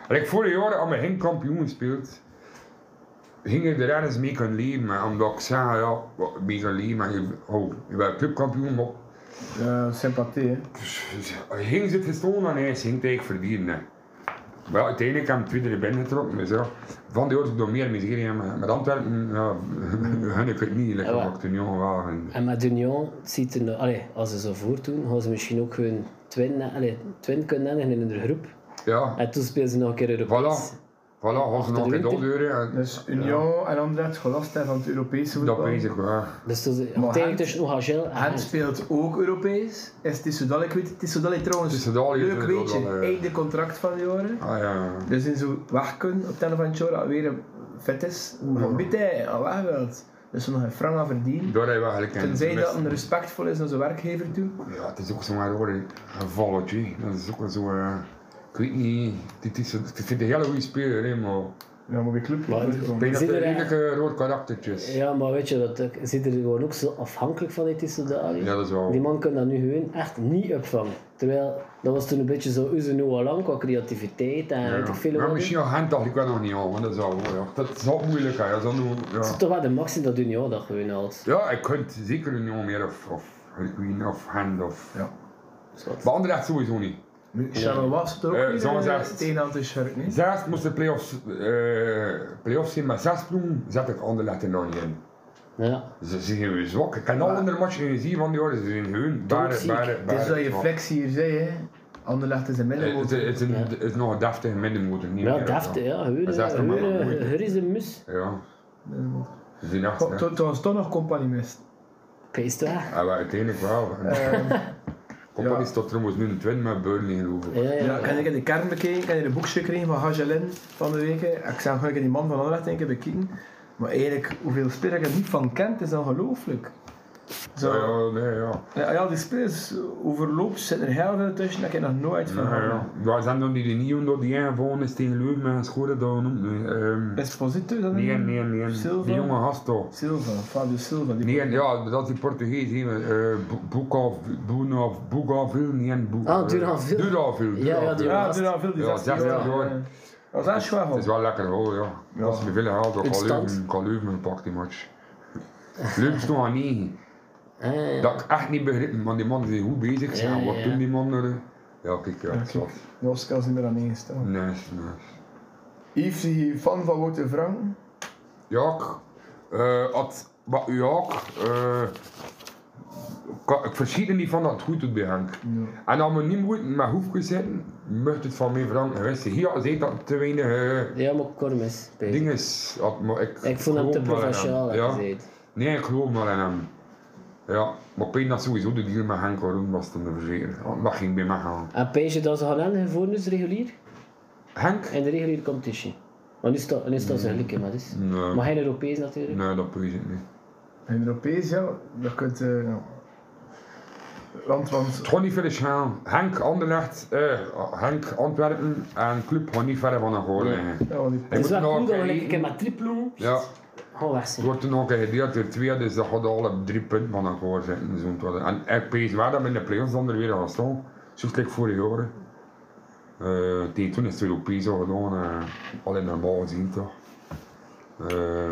En ik vorig jaar, aan mijn geen kampioen gespeeld, ging ik er ergens mee kunnen leven. maar Omdat ik zei, ja, wat- mee kunnen leven, maar je, oh, je bent clubkampioen, maar eh, sympathie. Hè. ging zit gestolen aan ijs, ging het eigenlijk verdienen. hè. Maar ja, uiteindelijk heb ik hem tweede erbij getrokken. Dus ja, van die oorlog door meer miserie. en Met, met Antwerpen, ja, hun ik het niet. Lekker Ja, wat ik toen jong was. En, En met Union ziet er, allee, als ze zo voortdoen, gaan ze misschien ook hun twin, allee, twin kunnen eindigen in hun groep. ja, En toen spelen ze nog een keer Europees. voilà. Voilà, als ze nog een keer winter. dondeuren. en Dus Union en Anderlecht gelast zijn van het Europese voetbal. Dat bezig, Ah, ja. Dus toen, ze- Maar uiteindelijk Gent- tussen Ogagel en Gent Gent. speelt ook Europees. Is Tissoudal, ik weet het, Tissoudal trouwens. Tissoudali is leuk er weet wel, je, eh, einde contract van die jaren. Ah ja. Dus in zo'n weg kunnen op het einde van het jaar dat weer vet is. Van weet hij, al weg wilt. Dus ze nog een frank aan verdienen. Daar hebben we eigenlijk een Tenzij dat gemist. een respectvol is naar zijn werkgever toe. Ja, het is ook zo'n raar een valletje. Dat is ook wel zo... eh, ik weet niet, dit is, het is een hele goede speler, hè, maar... Ja, maar bij club. Maar- dat is gewoon- Ik denk dat Zit hij er- redelijke rood karaktertjes. Ja. Ja, maar weet je, dat ook- zit er gewoon ook zo afhankelijk van die Tissoudali. dat is wel... Die man kan dat nu gewoon echt niet opvangen. Terwijl, dat was toen een beetje zo Uze Noah Lang qua creativiteit en weet ik veel maar wat. misschien al hand dacht ik wel nog niet aan, want dat is al, ja. Dat is al moeilijk, hè. Dat is al nu- Het is ja. toch wel de maxi dat Union dat gewoon haalt. ja, ik kunt zeker niet al meer of, of Queen of hand of... Ja. Zwart. Maar Anderlecht sowieso niet. Charles was het ook Eh, weer, zoals eh, echt. tegen aan te schurken. hè. Zelfs moest de play-offs, eh, play-offs zijn met zes ploegen, zet ik Anderlecht er nog niet in. Ja. Ze zijn weer zwak. Ik kan alle andere matchen niet zien van die orde, ze zijn hun bare, Doodziek. Dus bare, Het is dat bare Dus je zwak. flex hier zei, hè. Anderlecht is een Eh, Het middenmotor. het is een- het is nog een deftige middenmotor, niet Ja, meer, deft, ja. Dat is echt een man van moeite. Heur is een mus. Ja, Middenmotor. ze zijn echt... Goh, hè. to- Trouwens, toch nog compagnie mist. Kijk eens daar. Ja, maar uiteindelijk wel. Ehm, Company staat trouwens nu een twin met Burnley geloof ik. Ja, Ja, ja. ik heb in de kern bekeken, ik heb een boekje gekregen van Hagelin van de weken. Ik zag gewoon die man van Anderlecht een keer bekeken. Maar eigenlijk, hoeveel spelers ik er niet van kent, is ongelooflijk. Zo. Ja, Ja, nee, ja. ja. die spelers overloopt zitten er heel veel tussen dat ik nog nooit van Ja, had. ja. Waar zijn dan die de nieuwe dat die ingevallen is tegen Leuven met een score dan ook niet. Ehm, Esposito, dat Nee, een- nee, nee. Silva? Die jonge gast toch. Silva, Fabio Silva. Die Nee, ja, dat is die Portugees. hè, eh, Bo- Boekaf, Boenaf, Boegavil, nee, en Boe- Ah, Duravil. eh, Duravil. Ja, ja, Duravil. die- Ja, die dan veel die Ja, 16 16 jaar. jaar. Ja. Dat was echt zwaar, Het is hoor. wel lekker hoor, ja. Ja. Dat is me veel gehaald door In Kaleuven. stand. Kaleuven gepakt die match. Leuven stond aan 9. Ah, ja, ja. Dat ik echt niet begrepen, want die man is goed bezig. Ja, zijn. ja, Wat ja. doen die man er? Ja, kijk, ja, het zat. De Oscar is niet meer aan ingesteld. Nice, nice. Yves, die fan van Wouter Frank. Ja, ik, eh, had, wat u ook. eh, ik- ik verschiet er niet van dat het goed doet bij Henk. En als we niet moeten met hoefjes zitten, mocht het van mij veranderen geweest zijn. Hier zei dat te weinig eh, Ja, maar Cormis. bezig. dingen is. had, maar ik, Ik vond hem geloof te wel in professioneel, Ja. heb je gezegd. Nee, ik geloof maar in hem. Ja, maar ik denk dat sowieso de deal met Henk Aroen was te verzekeren. Want Dat ging bij mij gaan. En pijs je dat ze gaan aan voor dus regulier? Henk? In de reguliere competition. Maar nu is dat, nu is dat eigenlijk, hè, maar dus. Nee, Maar geen Europees natuurlijk. Mm. nee dat weet ik niet. In Europees, ja, dat kunt... eh, ja. Want, want... Het gaat niet verder gaan. Henk Anderlecht, eh, Henk Antwerpen en club gaan niet verder van elkaar liggen. Ja, want die... Het is wel moet nog cool dat we kijken. lekker een keer met triplo Ja, gaan weg het Oh, zijn. wordt er nog gedeeld door twee, dus dat gaat alle op drie punten van elkaar zitten. Zo'n het worden. en ik pees waar dat we in de play-offs dan er weer gaan staan. Zo gelijk vorig jaar. Eh, tegen toen is het Europees al gedaan, eh, alleen normaal gezien toch. Eh,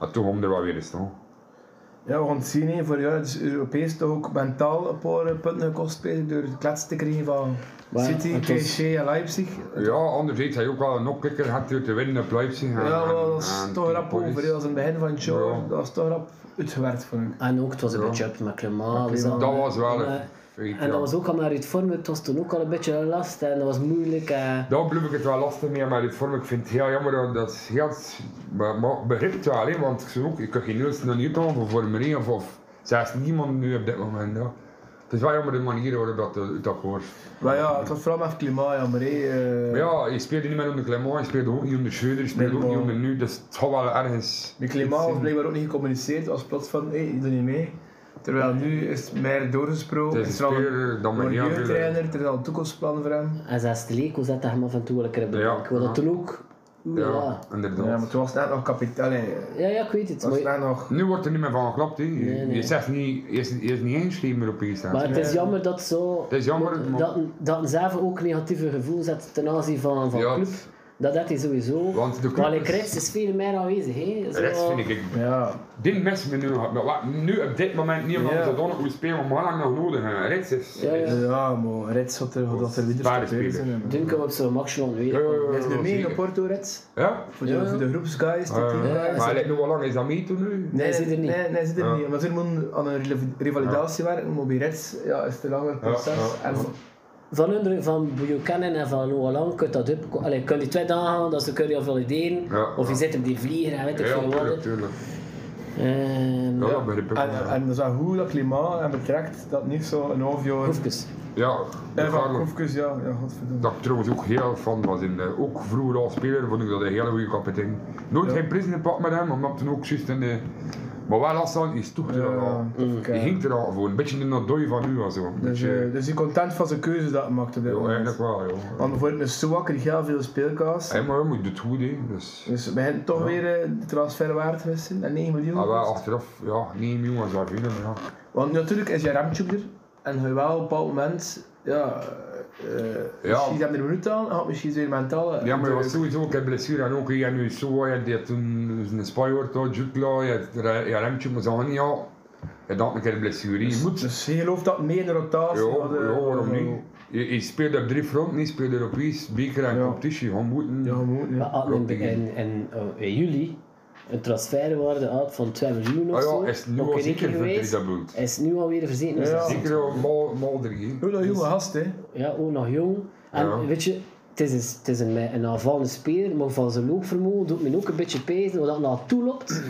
en toen kwam er wel weer eens staan. Ja, we gaan het zien, hè. vorig jaar is Europees toch ook mentaal een paar eh, punten gekost bezig door het klets te krijgen van Maar City, het was- PSG en Leipzig. Ja, anderzijds hij ook wel een opkikker gehad door te winnen op Leipzig. en- Ja, wel, dat en- is en toch rap Tripolis. over. hè. Dat is in het begin van het show. Ja. Dat was toch rap uitgewerkt, vond ik. Ah, En ook, het was een Ja. beetje up met Clement. we zaten- Dus Dat was wel en, eh, een feit, En ja. dat was ook allemaal uit vorm, het was toen ook al een beetje last en dat was moeilijk. eh. Daar bleef ik het wel lastig mee, maar dit vorm, ik vind het heel jammer dat dat is heel, maar, maar ik begrip het wel, hè, want ik zou ook, ik kan geen Niels naar Newton voor Formule 1 of, of zelfs niemand nu op dit moment. Ja. Het is wel jammer de manier waarop dat eh, uit dat hoort. Maar ja, het was vooral met klimaat, jammer. hè. Eh, Maar ja, je speelt niet meer onder Clement, je speelt ook niet onder Schreuder, je speelt Nee, ook niet maar- onder nu, dus het gaat wel ergens. De klimaat was iets blijkbaar ook niet gecommuniceerd. Het was plots van, hé, hey, doe niet mee. Terwijl nu is het meer doorgesproken. Het is er al een speler dan een men heel veel. jeugdtrainer, er is al een toekomstplan voor hem. En zelfs de Leco zette hem af en toe wel een keer op de Ja, bank. Wat ja. dat toen ook... Ja, Ja. inderdaad. Ja, maar toen was het net nog kapitaal. hè. Het ja, ja, ik weet het. was Maar, net nog... Nu wordt er niet meer van geklapt, hè. nee. je zegt niet, je is, je is niet eens meer op je staan. maar het is jammer dat zo... Het is jammer, maar- Dat, dat een zelf ook negatieve gevoel zet ten aanzien van, van Ja. club. Dat dat hij sowieso. Want de club maar is- like, Rits is veel meer aanwezig. Hè. Zo- Rechts vind ik Ja, Dit mes me nu nog, maar wat nu op dit moment niet meer Ja. zo dan hoe spelen, maar lang nog nodig hebben. Rits is. Ja, ja. ja maar Reds had er, dat er weer Zware stoppen speler. zijn. Duncan op zo'n maximum Ja, ja, weer. ja, Hij is nu ja, mee zeker. naar Porto, Reds. Ja? Voor de, Ja. voor de groepsguys, de Eh, teamguys. maar lijkt nu wel lang is dat mee toen nu? Nee, Hij zit er niet. Nee, nee, hij zit er Ja. niet. Omdat er moet aan een rival- revalidatie werken, maar bij Reds ja, is het een langer proces. ja, En ja. Van hun, van Buchanan en van Noalang, kun je dat up. Allee, kun je die twee dagen gaan, dat ze kunnen je valideren. Ja, of je ja. zit op die vlieger en weet ik Ja, veel wat. tuurlijk, tuurlijk. Ehm, Ja, dat begrijp ik wel, en, ja. en dat is wel goed dat klimaat en betrekt dat niet zo een half jaar. Hoefkes. Ja, Eh, van Carlo, Koefkes, ja, ja, godverdomme. dat ik trouwens ook heel fan was. In, eh, ook vroeger als speler vond ik dat een hele goede kapitein. Nooit Ja. geen prijzen gepakt met hem, omdat toen ook juist in de. Maar wel als dan is toch er al. Ja, tof, Je ja. ging er al voor, een beetje in dat dooi van u en zo. Een Dus, beetje- eh, dus je content van zijn keuze dat hij maakt op dit ja, moment. eigenlijk wel, joh. Want bijvoorbeeld een Soak kreeg heel veel speelkaas. Hey, maar je doet het goed, hè. Dus. Dus we beginnen toch weer eh, de transferwaarde te wissen. En 9 miljoen. Ah, wel, achteraf, ja, 9 miljoen was wel veel, maar ja. Want natuurlijk is je Remtjoek er. En hij wel op een bepaald moment, ja, eh Ja. misschien zijn er minuten aan, had misschien zijn mentale. Ja, maar je was sowieso ook een blessure en ook hier nu zo, je hebt toen een spijwoord, Jutla, je hebt er- je remtje, maar zo niet ja. Je had een keer een blessure. Je moet. Dus je gelooft dat mee in de rotatie? Ja, dat, eh, ja, waarom niet? Je, je speelt op drie fronten, je speelt Europees, beker en Ja. competitie. Je moet. Ja, gewoon, We ja. hadden in, Rotterdam. in, in, eh, in juli een transferwaarde uit van 2 miljoen Ah of zo. ja, is het nu Ook al in zeker rekening voor drie geweest. dat bloed. Hij is nu alweer verzekerd. Dus Ja. dat is- Zeker al mal, mal drie. hè. Hoe dat Dus- jonge gast, hè? Ja, ook nog jong. En Ja. weet je, het is, een, het is een, een aanvallende speler, maar van zijn loopvermogen doet men ook een beetje pezen, omdat hij naartoe loopt.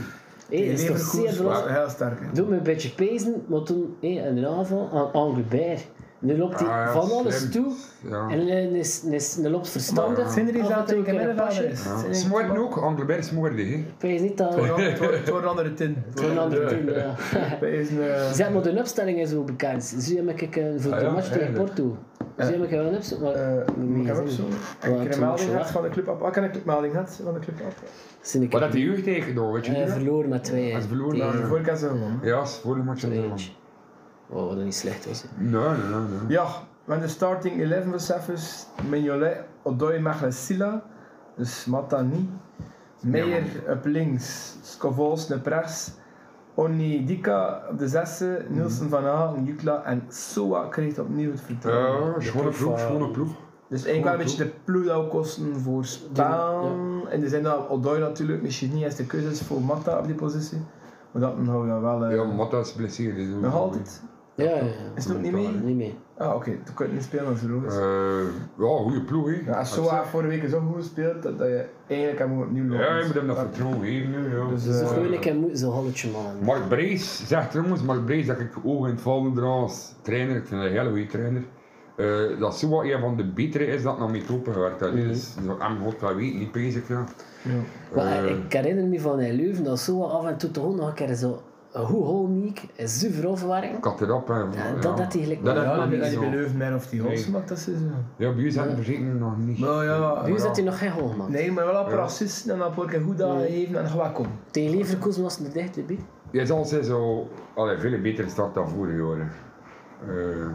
Hé, Die is toch Leverkusen zeer was belangrijk. heel sterk. hè. Doet me een beetje pezen, maar toen hé, in de aanval aan Angelbert. Nu loopt hij Ah, ja, van alles slim. toe. Ja. En hij is, hij is, hij loopt verstandig. Standaard. Zinder is Af en aan toe het een keer een pasje. Ja. Smoorden ook, Anglebert smoorden, hè. Ik weet niet dat Het wordt- het wordt een andere tin. voor een andere team. ja. Dat is een... eh, Zeg maar, de opstelling is wel bekend. Zie je ik eh, voor Ah, de ja, match tegen eigenlijk. Porto. Zie je ik wel een opstelling? maar- eh, ik heb ook zo. Ik heb Wat, een toen was je melding gehad weg? van de club op. Ah, Ik heb een melding gehad van de club op. Zie ik Wat had de jeugd tegen dan, weet je? Hij niet, hè? verloor met twee. Hij is verloren, tegen- ja. De vorige keer zo gewonnen. Ja, is vorige match aan de Nee. hand. Wow, Oh, wat dat niet slecht was. hè. Nee, nee, nee. nee. Ja, want de starting 11 was Cephas, Mignolet, Odoi Maglasila, dus Matani, Meijer op links, Scovols naar pres, Oni Dika op de zesde, Mhm. Nielsen van Hagen, Jukla en Soa kreeg opnieuw het vertrouwen. Ja, schone Eh, ploeg, schone ploeg. Dus eigenlijk wel een beetje de ploeg dat we kosten voor Spaan. In de zin dat Odoi natuurlijk misschien niet eens de keuze is voor Matta op die positie, maar dat houden we dan wel. eh, Ja, Matta is blessé. dus ook nog wel altijd? Ja, ja, ja. Is het ook niet Ja. mee? Niet mee. Ah, oké, dan kun je niet spelen als het rood goed. is. Eh, ja, goede ploeg, hè. Ja, als Soa vorige week zo goed gespeeld dat, dat je eigenlijk hem moet opnieuw lopen. Ja, je moet hem dat vertrouwen geven, hè, ja. Dus, Zo eh, gewoon een keer moet zo'n holletje man. Mark Brees zegt trouwens, Mark Brees dat ik oog in het vallen draai als trainer, ik vind dat een hele goede trainer, Eh dat Soa een van de betere is dat nog mee opengewerkt heeft. Dus dat hem God dat weet, niet bezig. Ja. ja. Maar Eh, ik herinner me van in Leuven dat zo af en toe toch nog een keer zo een goed holmiek, een zuiver afwerking. ik had erop. hè, van- dat had hij gelijk Dat niet. had Ja, nog dat niet ben je zo. bij Leuvenmeer of die Nee. Holsen, maar dat is zo. Ja, bij u zaten verzekering nog niet. Maar ja, Nu ja. zat hij nog geen hol man. Nee, maar wel op racisten en op welke goed dat even en gewak komen. Tegen Leverkusen was hij er dicht bij. Jij zal ze zo allee, veel beter start dan vorig jaar. hè. Eh,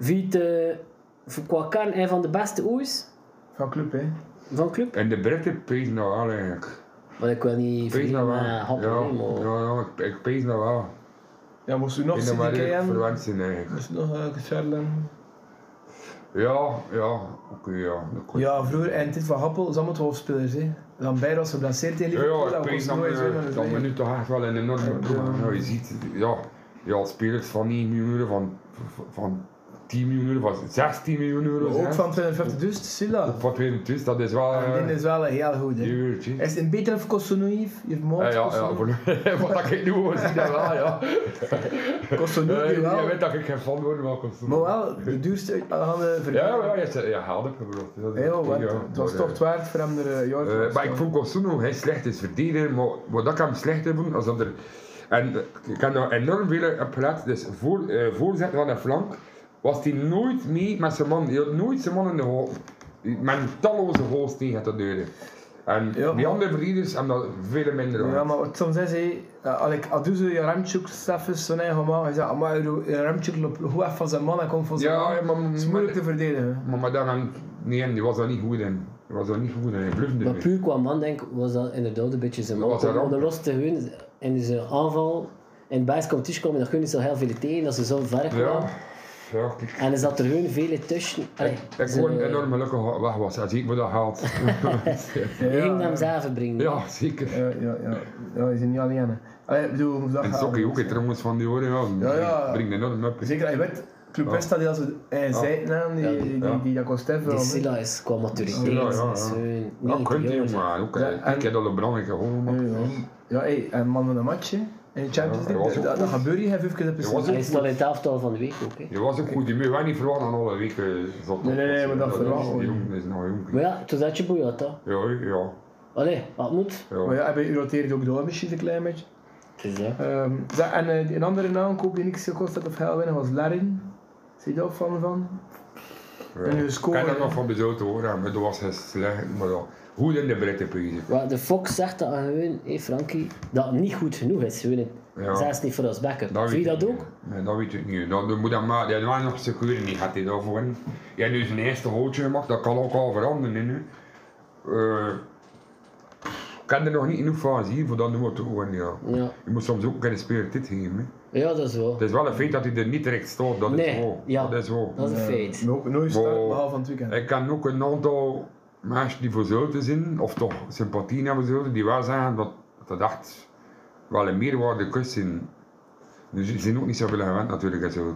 Viet eh, voor qua kern een van de beste ooit Van club, hè. van club. en de Britten pezen dat wel eigenlijk. Maar ik wil niet Pezen dat verliezen, wel. eh, happen, Ja, nee, maar- ja, ja, ik- ik pees dat wel. Ja, moest u Ik nog denk dat we CDK eigenlijk hebben? verwend zijn eigenlijk. Moest u nog eh, Sherlen? Ja, ja, oké, ja. dat kan. Ja, vroeger en dit van Happel, is allemaal 12 spelers, hè. Lambert was geblesseerd tegen Ja, Liverpool, ja, dat ik was weet dat nooit zo. we, dat we nu toch echt wel een enorme ploeg hebben. Nou, je ziet, ja, ja, spelers van 9 miljoen euro, van, van 10 miljoen euro, van 16 miljoen euro. Maar Ook zelfs. van 250 dus, Silla. Ook van 22, dat is wel... En dit eh, is wel een heel goed, hè. duurtje. Is het een betere voor Kostonoïef? Je Ja, ja, moord, ja, Kostonoïev? voor- wat ik nu hoor, zie dat wel, ja. Kostonoïev, Eh, wel. Je weet dat ik geen fan word, maar kost Maar wel, de duurste eh, uit alle Ja, verdienen. ja, je zegt, ja, haal ik gebracht. Dat is Heel oké, wat. ja, Het was maar, toch eh, het waard voor hem er eh, jaar voor Eh, maar ik te vond Consuno hij slecht is verdediger, maar wat ik hem slecht heb doen, als dat er... En eh, ik heb daar enorm veel op gelet, dus voor, eh voorzet van de flank was hij nooit mee met zijn man. Hij had nooit zijn man in de goal. Met talloze goals tegen te deuren. En Ja, die maar- andere verdedigers hebben dat veel minder staan. aan. Ja, maar wat soms is hij, eh, als ik Aduzu, je Remchuk, Steffens, zo'n eigen man, hij zei, maar Remchuk loopt goed af van zijn man en komt van zijn Ja, man. ja, maar- Het is moeilijk te verdedigen. Maar, maar daar nee, en die was daar niet goed in. Die was daar niet goed in, hij blufde Maar mee. puur qua man, denk ik, was dat inderdaad een beetje zijn Dat man. was Om een ramp. de los te winnen in zijn aanval. In de baas komt tussen komen, dan kun je niet zo heel veel tegen dat ze zo ver kwamen. Ja, ja, kijk. En er zat er gewoon vele tussen. Allee, Ik Dus, ze- eh, gewoon enorm gelukkig weg was, en zie ik wat dat haalt. Ja, Je ging ja, hem zelf brengen. ja, zeker. ja, ja, ja. Ja, je bent niet alleen. hè. Allee, ik bedoel, hoe dat En gaat. Sokkie ook, hè, trouwens, van die horen. Ja, Ja, ja. Brengt enorm up. Zeker, je weet, Club Ja. Besta, die als we eh, zeiden, hè, die, Ja, die, ja. die, die dat kon Die sterven. Dus Silla is qua maturiteit. Ja, ja, ja. is gewoon Dat niet kunt jong, hij, zeg. maar ook. Ja, hè. en- Ik heb al een belangrijke goal gemaakt. Ja, ja hey, en man van de match, hè. In de Champions Ja, hij was League, ook dat, dat goed. gebeurt hier vijf keer per was seizoen. Hij staat in het elftal van de week ook. Hè. Je was ook goed, je moet wel niet verwachten aan alle weken. eh, zat Nee, nee, nee, maar dat is- verwacht die we jongen is nog jong. Maar ja, toen zat je Boyata. Ja, ja, Allee, wat moet. Maar ja. ja, hij roteert ook door misschien een klein beetje. Het is dat. Ehm, zeg, en eh, een andere aankoop die niks gekost had of heel weinig was Larin. Zie je daar van van? ja. En je Ik scoren, heb dat hè. nog van bezoten hoor, hè, maar dat was heel slecht. Maar ja, goed in de Britten bezig. Wat de Fox zegt dat eh, gewoon, hé Frankie, dat het niet goed genoeg is. Gewoon, Ja. Zelfs niet voor ons bekken. weet Zie je ik dat ook? niet. Nee, dat weet ik niet. Dat, dat moet dan maar, dat waren nog securen niet had hij daarvoor. Je hebt nu zijn eerste houtje gemaakt, dat kan ook al veranderen. hè, nu. Eh, ik kan er nog niet genoeg van zien, voor dat doen we het ook gewoon, ja. Ja. Je moet soms ook kunnen spelen dit geven. hè. ja, dat is wel. Het is wel een feit dat hij er niet direct staat, dat is Nee, wel. ja, Dat is wel. dat is een feit. Ook Eh, nooit start, Wow. behalve van het weekend. Ik kan ook een aantal mensen die voor Zulten zijn, of toch sympathie hebben voor Zulten, die wel zeggen dat dat echt wel een meerwaarde kust zijn. Dus ze zijn ook niet zoveel gewend natuurlijk uit zo.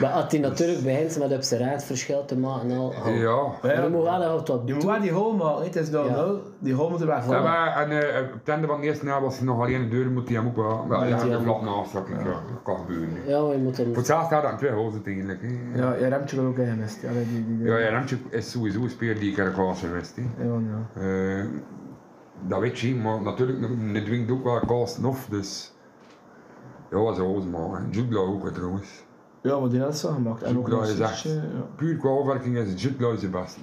Maar als hij natuurlijk begint met op zijn raad verschil te maken, en al, al. Dus- Ja. Maar ja, dan moet wel nog wat Je doen. moet wel die home maken, hè. het is dan Ja. wel. Die home moet er weg Ja, vallen. maar, en eh, op het einde van de eerste jaar was hij nog alleen de deur, moet hij hem ook wel. Maar ja, hij de hem vlak naast, dat kan- ja, dat kan gebeuren. hè. Ja, maar je moet hem... Voor hetzelfde had hij twee hozen eigenlijk. hè. Ja, je remtje wil ook in gemist. Ja, die, die, die- Ja, ja, Remtje is sowieso een speler die ik er kans geweest. hè. Ja, ja. Eh, dat weet je, maar natuurlijk, ne dwingt ook wel kosten af, dus... Ja, dat is hoos, maar Jutla ook hè, trouwens. Ja, maar die had het zo gemaakt. En ook Zoekla nog is een echt- stukje, ja. Puur qua afwerking is Jutla de beste.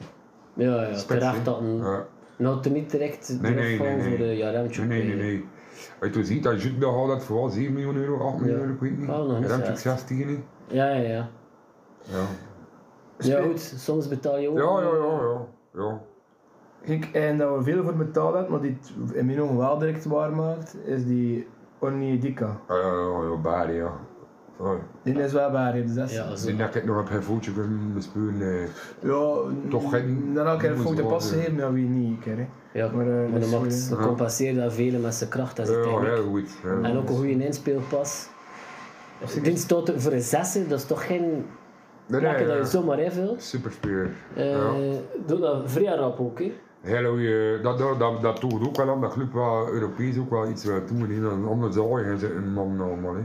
Ja, ja, Spits, hè. terecht dat een... Ja. Nou, toen niet direct Nee, nee, eraf vallen nee, nee. voor de Jaremtje. Nee, nee, nee, nee. Als je ziet dat Jutla had dat voor wel 7 miljoen euro, 8 miljoen Ja. euro, ik weet niet. Oh, nog niet Remtje echt. 16 niet. Ja, ja, ja. Ja. Ja, goed, soms betaal je ook. Ja, ja, ja, ja. ja. Ik, en dat we veel voor betaald hebben, maar die het in mijn ogen wel direct waar maakt, is die Onyedika. Ja, ja, ja, ja, Bari, ja. Ja. Die is wel waar, hè, dus dat is- Ja, zo. Ik denk dat ik het nog op een voetje kunnen bespeuren. eh. Ja, Toch geen- Dan had ik er een moet foto wel, pas eh. gegeven, ja, wie niet, ik, hè. Ja, Maar, maar, eh, dat dan is maakt, goed, dan ja. compenseert dat vele met zijn kracht en zijn Ja, techniek. heel goed. heel En goed. ook een goede inspeelpas. Dit stoot voor een zesde, dat is toch geen Nee, nee, plakken dat je ja. zomaar invult. Superspeler. Eh Ja. Doe dat vrij rap ook, hè. Hele goeie, dat, dat, dat, dat toont ook wel aan dat club wel Europees ook wel iets wil doen. hè. Dat een ander zaai gaan zitten, man, allemaal. hè.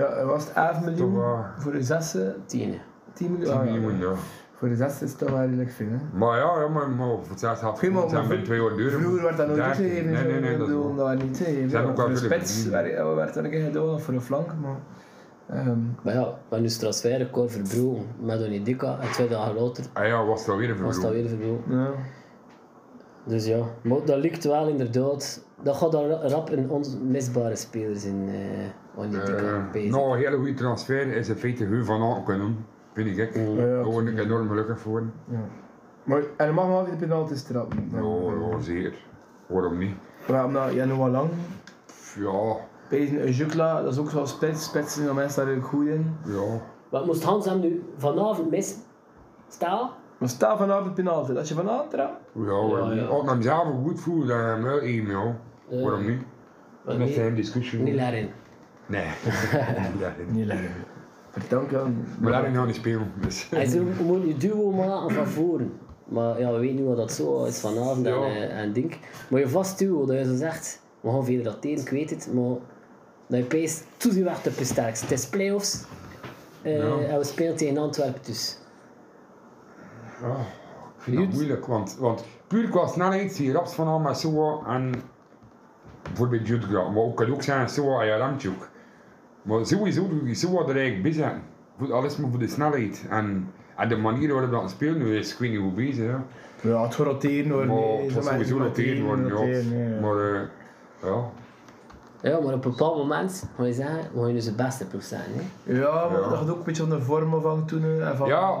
Ja, er was het 11 miljoen Toch wel. voor de zesde, Tien. 10 miljoen. Die Ah, ja. miljoen, ja. Voor de zesde is het toch wel redelijk veel, hè. Maar ja, ja, maar, maar voor het zesde had Geen, maar- het zijn maar binnen twee jaar duur. Vroeger werd dat nooit Dertien. gegeven, Nee, nee, nee. ik Dat bedoel, is dat werd niet gegeven. Zijn Ja, ook wel voor de veel spits verdienen. werd, ja, werd er een keer gedaan, voor de flank, maar... ehm, Maar ja, we hebben nu transferrecord verbroken met Onidika en twee dagen later ah, ja, was dat weer een was dat weer verloren. verbroken. ja. Dus ja, maar dat lukt wel inderdaad. Dat gaat dan ra- rap een onmisbare speler zijn, eh Onidika. Eh, Nou, een hele goede transfer is in feite Heu van Aken kunnen. Vind ik. Daar Ja, ja. word ik enorm gelukkig voor. Ja. Maar, en dan mag nog altijd de penalty trappen. Ja, ja, zeker. Nou, Waarom niet? Maar omdat Januwa Lang, Ja, Pezen Jukla, dat is ook zo'n spits. Spitsen zijn mensen daar ook goed in. ja. Wat moest Hans hem nu vanavond missen? Stel, Maar sta vanavond de penalty. Als je vanavond trapt, Ja, waarom Ja, niet? ja. Als ik hem zelf goed voel, dan hem wel één, ja. Ja. Waarom niet? Wel, Dat nee. zijn discussie. niet daarin. Nee. Larin. niet leggen. Vertel dan. Maar Larin gaat niet spelen. Dus. Hij zei, we moeten een duo maken van voren. Maar ja, we weten niet wat dat zo is vanavond en, Ja. eh, en ding. Maar je vast duo, dat je zo zegt, we gaan verder dat tegen, ik weet het. Maar dat je peest, toe die weg op je sterkst. Het is play-offs eh, Ja. en we spelen tegen Antwerpen dus. Ja, ik vind dat Goed. moeilijk, want, want puur qua snelheid zie je Raps van met Soa en bijvoorbeeld Jutgra. Maar ook kan ook zijn Soa en Ramchuk. Maar sowieso doe je Soa er eigenlijk bezig. Voor alles maar voor de snelheid. En, en de manier waarop dat spelen nu is, ik weet niet hoe bezig. hè. Ja, het gaat roteren hoor. Maar Oh, Nee, het zo was maar- sowieso noteren worden. roteren, ja. ja. Maar eh, ja. Ja, maar op een bepaald moment ga je zeggen, we gaan nu zijn beste proef zijn. Hè? Ja, maar Ja. dat gaat ook een beetje van de vorm van toen. eh, En van, Ja,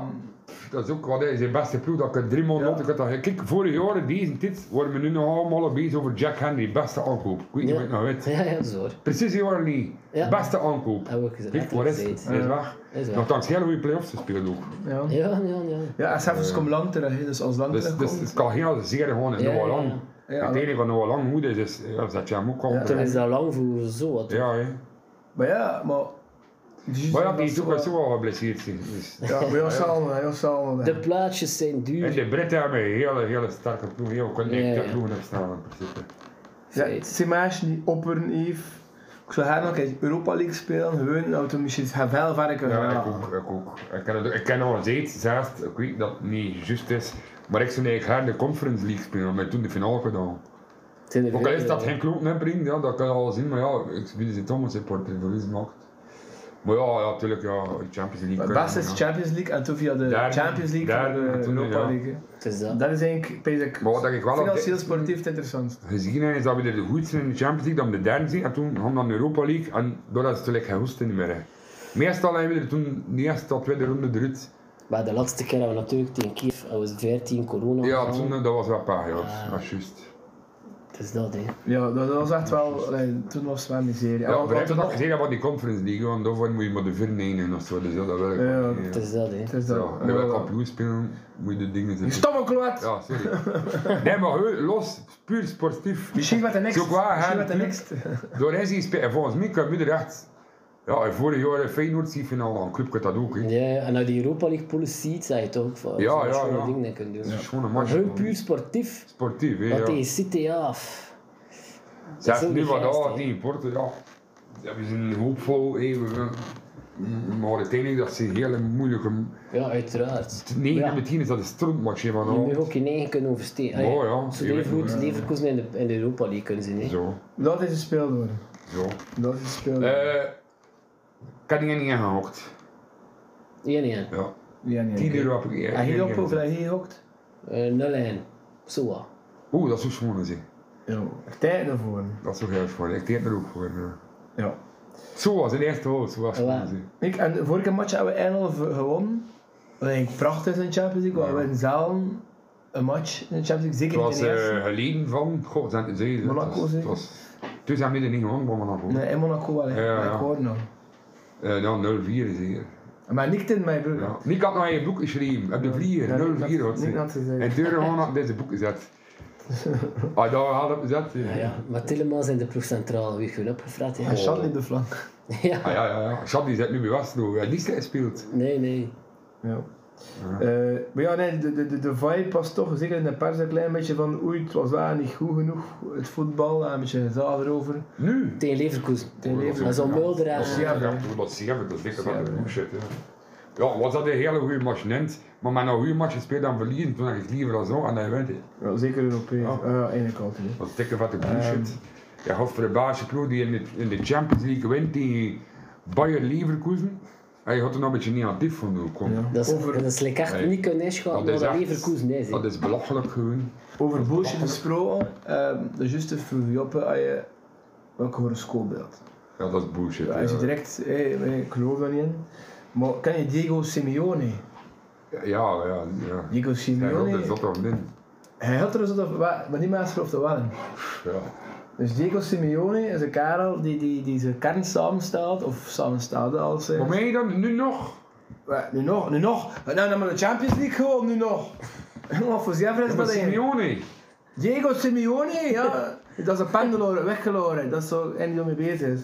dat is ook wat hij zijn beste ploeg. Dat ik er drie maanden Ja. ja. had. dat- Kijk, vorig jaar, deze tijd, worden we nu nog allemaal bezig over Jack Henry, beste aankoop. Ik weet niet Ja. of je het nog weet. Ja, ja, dat is hoor. Precies die jaar niet. Ja. Beste aankoop. Heb ik Kijk, gezegd. wat is gezegd. het? Hij is weg. Hij is weg. Nogthans, heel goede play-offs gespeeld ook. Ja, Ja, ja, ja. ja en Seffers komt lang terug, hè, dus als lang Dus, terug dus het kan heel zeer gewoon in Ja, Noah ja, Lang. ja. Ja. Het enige van Noah Lang goed is, is ja, dat je hem ook Ja. komt. Toen Ja, is dat lang voor zo wat. hè. Maar ja, maar... Maar ja, die is ook wel zo... zo wel geblesseerd. zijn, Dus. Ja, maar ja, Salman, ja, Salman. De plaatjes zijn En duur. de Britten hebben een hele, hele sterke ploeg. Heel kunnen Ja, echt ja. ploegen opstaan. in principe. Ja, Feit. Simash niet opperen heeft. Ik zou haar nog eens Europa League spelen, gewoon dat we misschien gaan veel verder Ja, gaan. ik ook. Ik, ook. ik, ken, het, ik ken al eens zelfs, ik weet dat het niet juist is, maar ik zou eigenlijk graag de Conference League spelen, maar toen de finale gedaan. Zijn er Ook al is veel, dat ja. geen kloten inbrengt, ja, dat kan je al zien, maar ja, ik ben een Thomas supporter, dat is macht. Maar ja, ja, natuurlijk, ja, Champions League. Maar kunnen, Het beste is ja. Champions League en toen via de Daar- Champions League daar- naar en de toen, Europa ja. League. hè. Het is dat. Dat is eigenlijk, denk ik, Maar wat ik wel op financieel dit- sportief het interessant. gezien hebben, is dat we er de goed zijn in de Champions League, dan de derde zijn, en toen gaan we naar de Europa League, en dat is natuurlijk geen hoest niet meer. hè. Meestal hebben we er toen de eerste tot tweede ronde eruit. Maar de laatste keer hebben we natuurlijk tegen Kiev, dat was 14 corona. Ja, gevallen. toen, eh, dat was wel paar, ja, dat is juist. Het is dat, hè. Ja, dat, dat was echt wel, allee, toen was het wel miserie. En wat- Ja, maar wat ik er heb dat nog- gezegd van die conference league, want daarvoor moet je maar de vernemen of zo, dus ja, dat wil ik Ja, ook niet, Het ja. is dat, hè. het is dat. Ja, en wil ik kampioen spelen, moet je de dingen Je zetten. stomme kloot! Ja, sorry. nee, maar heu, los, puur sportief. Misschien wat de next. Zo qua, hè. Misschien wat de next. Door hij zien spelen, volgens mij kan je er echt Ja, en vorig jaar in Feyenoord zie je finale aan. Club kan dat ook. hè. Ja, en uit die Europa League pool ziet, zag je toch ook van Ja, zo'n ja, schone ja. dingen dat je kunt doen. Dat is een schone Maar match. heel man. puur sportief, Sportief, hè, wat ja. tegen City af. Zeg zo nu wat geveinsd, daar hè. tegen Porto, ja. ja. We zijn hoopvol, hè, we gaan- maar uiteindelijk dat zijn hele moeilijke... Ja, uiteraard. Nee, Ja. met 10 is dat een strontmatch, hè, Je van moet ook je eigen kunnen oversteken. Oh, Allee, ja, Zo je weet even goed het, ja. Leverkusen in de, in de Europa League kunnen zien. hè. Zo, Dat is een speeldoor. zo. Dat is een speeldoor. Eh, Kanningen niet ingehokt. Ja, nee. Ja. ja, nee. 10 euro heb ik eh, En eigenlijk hier niet op, hoeveel ingehokt. hij hier hokt? Eh, 0-1. Zo wat. Oeh, dat is ook schoon, zeg. Ja. Tijd ervoor. Dat is ook heel schoon. Ik deed er ook voor. ja. Ja. Zo was het eerste hoofd, zo was Ja. schoon, zeg. Ik, en de vorige match hebben we eindelijk gewonnen. Wat eigenlijk prachtig is in de Champions League. want We hebben zelden een match in de Champions League, Het zeker niet was in de eerste. eh geleden van... Goh, zijn, zei je dat? Monaco, Het was- het zeker? was... Toen zijn we er niet gewonnen van Monaco. Nee, in Monaco wel. hè. eh, Ja, Maar ja. Ik hoor het nog. Eh, ja, 0-4 zeker. Maar niet in mijn broer. Ja. Nick had nog in je boek geschreven, op de vlier, Ja, Nick 04 had- had ze. Nick had ze gezegd. En deur gewoon had deze boek gezet. Ah, daar had hem gezet. Ja, ja. Maar Tillemans in de ploeg centraal weer gewoon opgevraagd. En Ja. Oh, Chan in de flank. ja. Ah, ja, ja, ja. Shab die zit nu bij Westlo, ja, die speelt. Nee, nee. Ja. Eh, maar ja, nee, de, de, de, de vibe was toch zeker in de pers een klein beetje van oei, het was daar niet goed genoeg, het voetbal, en een beetje gezaag erover. Nu? Tegen Leverkusen. Tegen Leverkusen. Maar zo'n Mulder Dat en... is Ja. Siever, dat is Siever, dat is dikker dan de Siever. boek zit. hè. Ja, was dat een hele goede match, Nent. Maar met een goede match gespeeld dan verliezen, toen had ik het liever dan zo Ah, en hij wint. hè. Ja, zeker Europees. Ja. Ja, ja eigenlijk altijd. hè. Dat is dikker van de boek Ehm. zit. Ja, gaf voor de basisploeg die in de, in de Champions League wint die Bayer Leverkusen. Hij had er nog een beetje negatief van doen. kom. Ja. Dat is, Over- dat is like echt Nee. niet kunnen inschouwen naar echt- de Leverkusen. Nee, zeg. dat is belachelijk gewoon. Over bullshit gesproken, ehm, de juiste vroeg je op eh, als je welk horoscoopbeeld. Ja, dat is bullshit. Ja, Ja, als je direct, eh, eh, ik geloof daar niet in. Maar ken je Diego Simeone? ja, ja. ja, ja. Diego Hij wil er Simeone, zot of in. hij had er zo op, maar niet meer of te wel. Ja. Dus Diego Simeone is een karel die, die, die zijn kern samenstelt, of samenstelde als... eh, Maar mij dan nu nog? Wat, nu nog, nu nog. Nou, dan maar de Champions League gewoon, nu nog. Nog voor Zevra is Met dat één. Simeone. Diego Simeone, ja. Dat is een pendeloor, weggeloren. Dat is zo en die mee bezig is.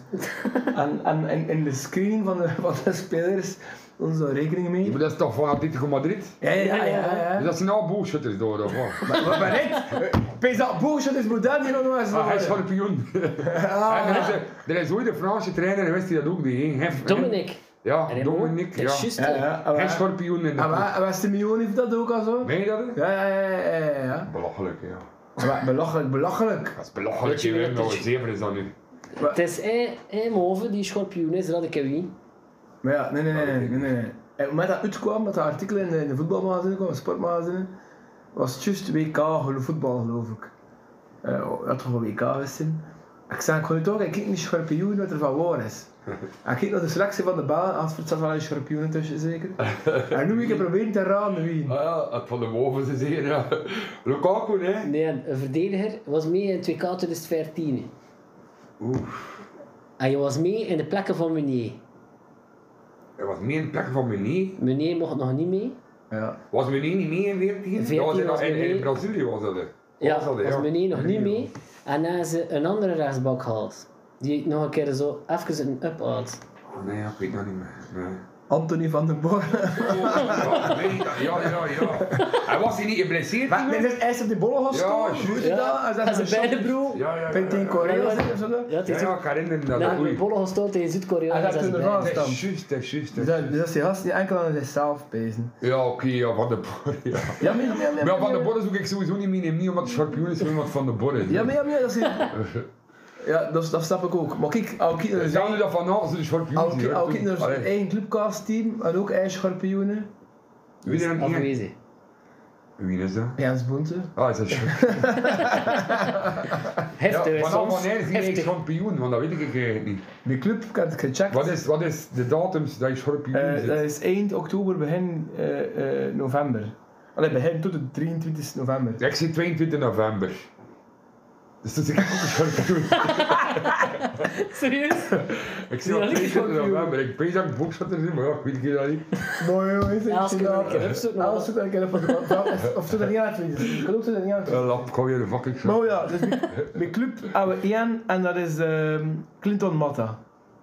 En, en, en in de screening van de, van de spelers, onze rekening mee. Maar dat is toch van Atletico Madrid? Ja, ja, ja. ja, Dus ja. dat zijn al bullshitters door, of wat? Maar, Oh, maar dit, pees dat bullshit is modern hier nog maar eens Maar hij is worden. kampioen. Ah, En er, is, er is ooit een Franse trainer geweest die dat ook deed. hè. Hef- Dominic. Ja, Dominic. Dat Ja. is juist. Ja, hè. ja. Hij is En schorpioen in de ploeg. Ah, waar- en waar ah, Simeone heeft dat ook al zo. Meen je dat? hè? Ja, ja, ja, ja, ja, ja. Belachelijk, ja. Maar Belachelijk, belachelijk. Dat is belachelijk. Weet je Je wie weet dat nog, is? zeven is dat nu. Het is één- één moven die schorpioen is, dat ik hem niet. Maar ja, nee, nee, nee, nee, nee, nee. nee. En op het moment dat uitkwam, dat de artikelen in de, in de voetbalmagazine kwamen, sportmagazine, was het juist WK gelo- voetbal, geloof ik. Eh had toch een WK geweest in. Ik zei, ik ga nu toch, ik kijk niet schorpioen wat er van waar is. En ik kijk naar de selectie van de baan, als het zat wel een schorpioen tussen zeker. En nu moet ik proberen te raden wie. Ah ja, het van de boven ze zeer, ja. Lukaku, hè? Nee, een verdediger was mee in 2K 2014. Oeh. En je was mee in de plekken van Meunier. Er was meer een plek van meneer. Meunier mocht nog niet mee. Ja. Was meneer niet mee in 14? 14 Dat was in, was in, in meneer. Brazilië was dat. hè. Ja, was dat, hè, was Meunier nog niet Meunier, ja. mee. En dan is ze een andere rechtsbak gehaald. Die ik nog een keer zo even een up had. Oh, nee, ja, ik weet dat niet meer. Nee. Anthony van den Borne. ja, weet ik dat. ja, ja, ja. Hij was hier niet geblesseerd. Maar toen, hè? dit is ijs op die bollen Ja, gestoken. juist. Goed Ja, gedaan. en ze beide broer. broer. Ja, ja, ja. Pint in ja. Korea of zo. Ja, het Ja, is ja, ik herinner me dat. Na de Oei. bollen gestoten tegen Ah, Zuid-Korea. dat zijn ze toen beide. was. Dat is juist, dat is juist. Dus dat is dat juist. dus dat is die gast die enkel aan zichzelf pezen. Ja, oké, ja, Van de Bor. Ja. Ja, maar ja, maar ja, maar ja, Maar ja, Van de maar ja. Bor zoek ik sowieso niet meer in niet omdat het schorpioen is, maar omdat het Van de Bor is. Ja, maar ja, maar ja, dat is... Ja, dat, dat snap ik ook. Maar kijk, als ik kijk naar Zou je zijn- dat van nou, de schorpioen als ik kijk- als ik kijk naar zijn eigen clubcast-team en ook eigen schorpioenen, Wie, er aan- Afwezig. Wie is dat? Jens Boente. Ah, is dat schorpioen? Ja, Heftig vanaf soms. wanneer is hij Heftig. schorpioen? Want dat weet ik eigenlijk niet. Die club, ik heb het gecheckt. Wat is, wat is de datums dat je schorpioen Eh, zit? dat is eind oktober, begin eh, eh, november. Allee, begin tot de 23 november. Ja, Ik zie 22 november. Dus dat is ik ook een schorpioen. Serieus? Ik zie Ja, dat ik 22 schorpioen. november. Ik weet dat ik boekzatter zit, maar ja, ik weet het dat niet. Mooi, joh, is het Ja, als ik gedaan. het een keer opzoek, maar- Als ik het een keer opzoek. Of tot een jaar twintig. Ik kan ook tot een jaar Ja, Eh, lap, ga weer de fucking Maar schorpioen. ja, ah, dus mijn- mijn club hebben we één en dat is ehm, Clinton Matta.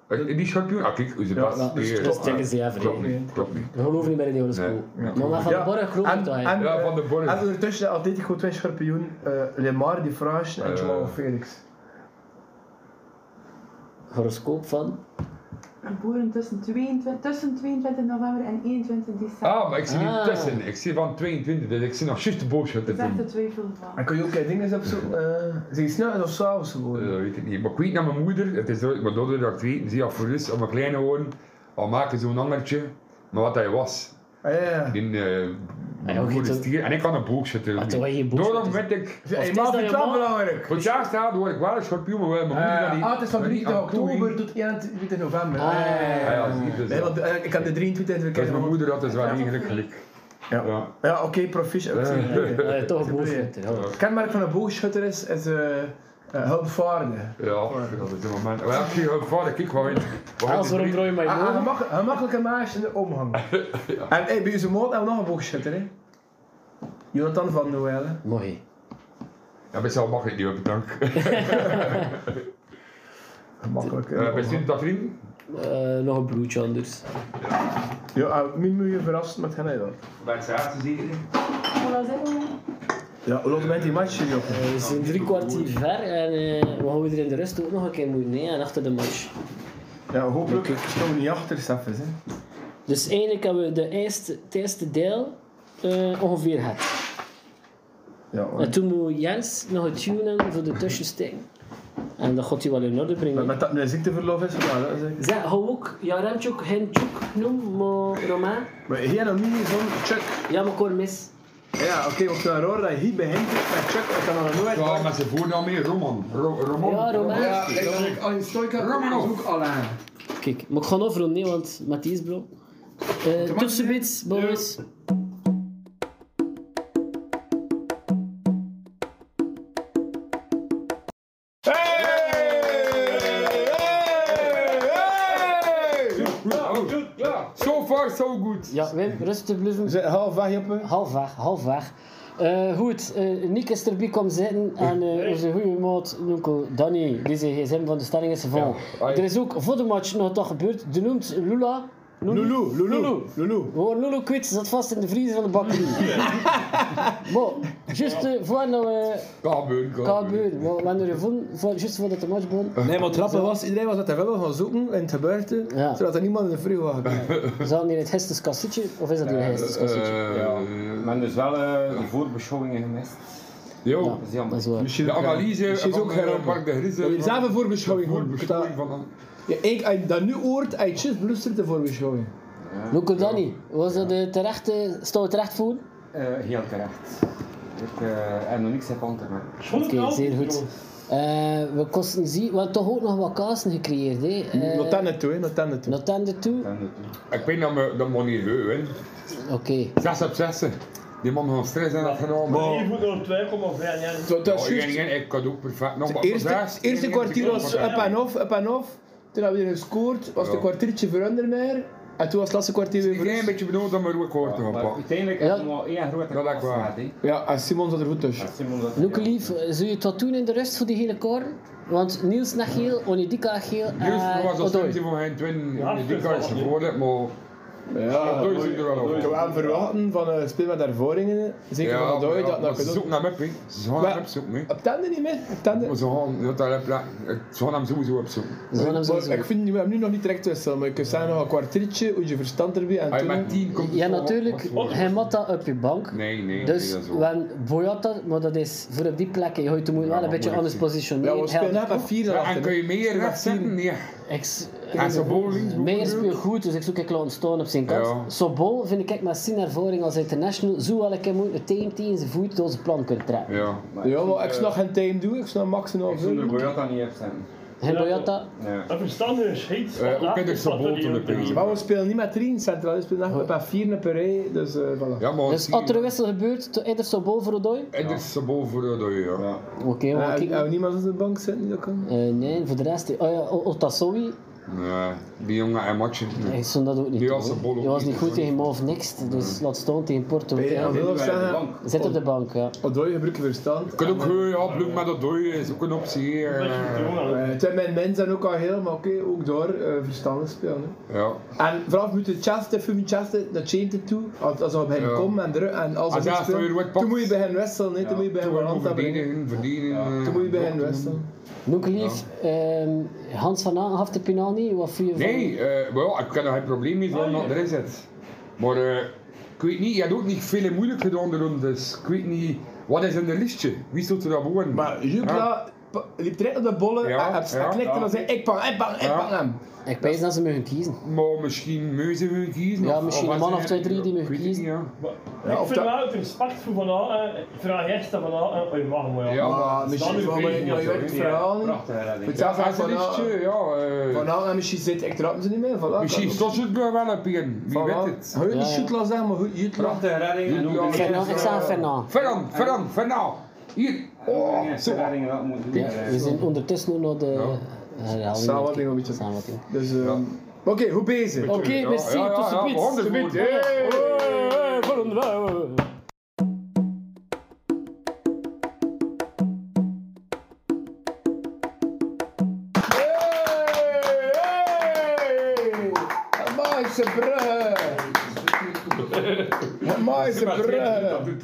Eh, Die schorpioen? Ah, kijk, is het Ja, best. ja, Dus Nee, dus eh, tegen ze ja, Klopt vrij. niet, klopt niet. We geloven niet meer in die horoscoop. Nee, maar maar van de Ja, borg geloof ik en- toch en- eigenlijk. Ja, van de borg. En ondertussen altijd goed twee schorpioen. eh Lemar, Di Frage en Eh. Joao Felix. Horoscoop van. Geboren tussen 22, tussen 22 november en 21 december. Ah, maar ik zie niet Ah. tussen. Ik zie van 22, dus ik zie nog juist de boodschap te Dat is echt de doen. twijfel van. En kun je ook geen dingen opzoeken? eh zijn die s'nachts of s'avonds geworden? Dat Eh, weet ik niet. Maar ik weet naar mijn moeder, het is ooit- maar doordat ik weet, zie je voor rust op mijn kleine woon, al maken zo'n hangertje, maar wat hij was. Ah, ja, ja. In, eh Ah, ja, mijn oké, moeder toen- stier, en ik had een boogje te Maar toen had je geen doen. boodschap Daarom te- werd ik, Ja, Of je het maakt is dat het je wel ma- belangrijk. voor het jaar staat, hoor ik wel een schorpioen, maar wel mijn moeder dat Eh, die... ah, het is van dat die 23 aan toe oktober ging. tot 21 november. Ah, ja, ja, Ja, ja, zie je, dus Nee, ja. want, eh, ik had de 23 Dat is mijn weken. moeder, dat is wel eigenlijk gelijk. Ja, ja. Ja. oké, proficiat. ook zie je. Eh, toch een Ze bedoelen- booswitter. ja. Het kenmerk van een boogschutter is, is eh eh, hulpvaardig. Ja, dat is een moment. Maar ja, ik zie ook vader, kijk gewoon. Als waarom draai je mij Ah, ah, boven? gemak- een makkelijke maas in de omgang. En hey, bij onze maat hebben we nog een boogschutter. Hè? Jonathan van Noelle. Mooi. Ja, best wel makkelijk, die bedankt. Gemakkelijk. hè. Eh, Best u dat vriend? Eh, nog een bloedje anders. Eh, Ja, ah, nu moet je verrassen met hen. Ja, Bij het zaterdag zie je. Ah. Wat was dat? ja hoe laat bent die match hier, joh? Eh, we zijn drie kwartier ver en eh, we gaan weer in de rust ook nog een keer moeten. hè, en achter de match. Ja, hopelijk staan we niet achter, Steffens. hè. Dus eigenlijk hebben we de eerste, het eerste deel eh, ongeveer gehad. Ja, En want- toen moet Jens nog het tunen voor de tussensteken. En dat gaat hij wel in orde maar brengen. met dat mijn ziekteverlof is, ja, dat is ik. Zeg, hou ook jouw remtjoek, hemtjoek noem, maar Romain. Maar hier nog niet zo'n Chuck. Ja, maar ik hoor mis. Ja, oké, want nou hoor dat hier begint het met Chuck, ik kan dat nog nooit. Ja, met zijn voornaam mee, Roman. Ro- Roman. Ja, Romain. Al je stoika, Romanov. ook al aan. Kijk, maar ik ga afronden, nee, want Matthias bro. Eh tot ziens, boys. So far, so good. Ja, Wim, rustig blijven. Zit half weg, Joppe. Half weg, half weg. Eh, goed, eh Nick is erbij komen zitten en eh onze goede maat, onkel Danny, die zijn gsm van de stelling is gevallen. Ja, ai. er is ook voor de match nog wat gebeurd, de noemt Lula. Lulu, Lulu, Lulu, Lulu. We horen Lulu kwijt, zat vast in de vriezer van de bakkerie. maar, juist eh, voordat we... Kabeun, Kan Eh, gebeuren, maar we hebben er gevonden, voor, juist voordat de match begon, Nee, maar het rappe was, iedereen was dat hij wel gaan zoeken en het gebeurde, Ja. zodat er niemand in de vrije was. zaten in het Hestes kassetje, of is dat een Hestes kassetje? Eh, Ja, maar dus wel eh, de voorbeschouwingen gemist. Yo, Dat is eh, dat jammer. is waar. de analyse Misschien is van ook eh, Mark gerampen. de Grizze. Je zelf een voorbeschouwing Voor hoort. beschouwing van... Ja, ik, als je dat nu hoort, hij is juist beluisterd de voorbeschouwing. Onkel Danny, was dat eh, terecht, eh, staan we terecht voor? Eh, heel terecht. Ik eh, heb nog niks heb aan te maken. Oké, zeer goed. Eh, we kosten zien, we hebben toch ook nog wat kaarsen gecreëerd. Hè? Eh, Not aan het toe, hè, not aan het toe. Not aan de toe. Dan doet het. Ik weet dat we dat we niet heu, hè. Oké. 6 op 6. Die man van stress zijn afgenomen. Hier moet nog 2,5 jaar. Het was Ja, juist- Oh, ik- ik- ik had ook perfect nog Het maar eerste, zes, eerste één- kwartier één- was één- up en off, up en off. Toen hebben we gescoord, was het een Ja. kwartiertje voor meer. En toen was het laatste kwartier weer Ik voor ben een ons. beetje benoemd dat we rood kort gaan Maar pakken. uiteindelijk Ja. is het nog één grote Dat lijkt kans waar. gehad, hè. Ja, en Simon zat er goed tussen. Maar Simon dat- Noeke lief, eh, zul je het wat doen in de rust voor die hele koren? Want Niels naar geel, Onidika geel en Juist, was als Odoi. Simpson van geen twin. Ja, Die kan is geworden, maar Ja, Odoi zit er wel op. Ik wou hem verwachten van een speel met ervaringen. Zeker Ja, van Dooi, maar dat ja, maar dat ze kan zoeken ook. naar Meppie. Ze gaan Maar- hem opzoeken, hè. Op tanden niet meer, op tanden. Maar ze gaan, ja, dat heb ik- eh, ze gaan hem sowieso opzoeken. Ze gaan hem Maar sowieso- Ik vind we hebben nu nog niet direct wisselen, maar je kunt zeggen nog een kwartiertje, hoe je verstand erbij en Hij toen... Oh. met 10 komt het Ja, wel op. natuurlijk, hij mat dat op je bank. Nee, nee, Dus nee, dat is wel- wanneer Boyata, maar dat is voor op die plekken, je gaat je moet je Ja, wel een maar beetje moet ik anders zien. positioneren. Ja, we spelen net Helpt met ook. vier Ja, en erachter, kun je hè. meer recht zetten? Nee. Ik s- En Sobol links, Meijer bijvoorbeeld. speelt goed, dus ik zoek ik laten staan op zijn kant. Ja. Sobol vind ik met zijn ervaring als international zo wel een keer moet het team tegen zijn voet door zijn plan kunnen trekken. Ja. Ja, maar ik snap geen time doen, ik snap max en Ik half zou er uur. Boyata niet opzetten. En Boyata, Ja. Een verstandige scheet. Eh, ook in de Sabol toen de prins. Maar we spelen niet met 3 centraal, we spelen echt met 4 per rij, dus eh, voilà. Ja, maar dus als er een wissel gebeurt, to- eerder Sobol voor Odoi? Het is Sabol voor Odoi, ja. Ja. Oké, we gaan Ja, kijken. niemand op de bank zitten die dat kan? Eh, nee, voor de rest... Oh ja, O- eh, Otasowi Nee, die jongen en matchen. Ik stond dat ook niet. Die toe, was hoor. een bol op Je was niet niet, goed dat tegen was Mo of niks, dus laat staan tegen Porto. Ben je Ja. aan wil of zeggen, oh, Zit op de bank, ja. Odoi gebruiken verstand. Je kunt ook goed, ja, bloem met dat dooien is ook een optie hier. eh, Eh, het zijn mijn mensen zijn ook al heel, maar oké, ook door eh verstandig spelen. hè. Ja. En vooral moet je chasten, voor je chasten, naar chain toe. Als, als ze op hen Ja. komen en druk en als ze Als niet hij zo spelen, weer wegpakt. toen moet je bij hen wisselen, hè, toen moet je bij hen Toen moet Waranta brengen. verdienen, verdienen. eh, Toen moet je bij hen doen. wisselen. Nucleef, ehm Hans van Aan gaf de penal niet, wat voel je van? Nee, eh wel, ik kan er geen probleem mee van dat erin zit. Maar eh, ik weet niet, je hebt ook niet veel moeilijk gedaan erom, dus ik weet niet, wat is in de listje? Wie stond er daar boven? Maar Jupla liep direct op de bollen Ja, en, en, en ja, klikte en ja. dan zei ik bang, ik bang, ik Ja. bang hem. Ik weet dat ze mogen kiezen. Maar misschien muizen we kiezen? Ja, misschien een man wat of is twee, er- drie die we ik weet het kiezen. niet, Ja, ik of vind dat- wel het respect voor Van Aalen. eh, Vraag eerst aan Van Aalen. Oh, je mag maar Ja, ja. Maar misschien is wel, het maar niet maar je zo, weet het hè. verhaal niet. Prachtige redding. Het zelfs dat is van een listje, ja. eh, Vanavond en misschien zit ik trap ze niet meer. Voilà, misschien kan ook. stond het er wel op in, wie weet het. Hou je niet Ja, ja. Jutla zeggen, maar goed, Jutla. Prachtige redding. En ook Ja. Fernand, ik zag Fernand. Fernand, Fernand, Fernand, hier. Oh, de zo. redding wel moeten doen. Ja, we zijn ondertussen ook nog de herhaling. Samenvatting een beetje. Samenvatting. Dus, ehm, maar oké, goed bezig. Oké, Ja, merci, ja, ja, tot ja, ziens. honderd Tot woorden. ziens. Hey, volgende week. Mooiste brug. Mooiste brug.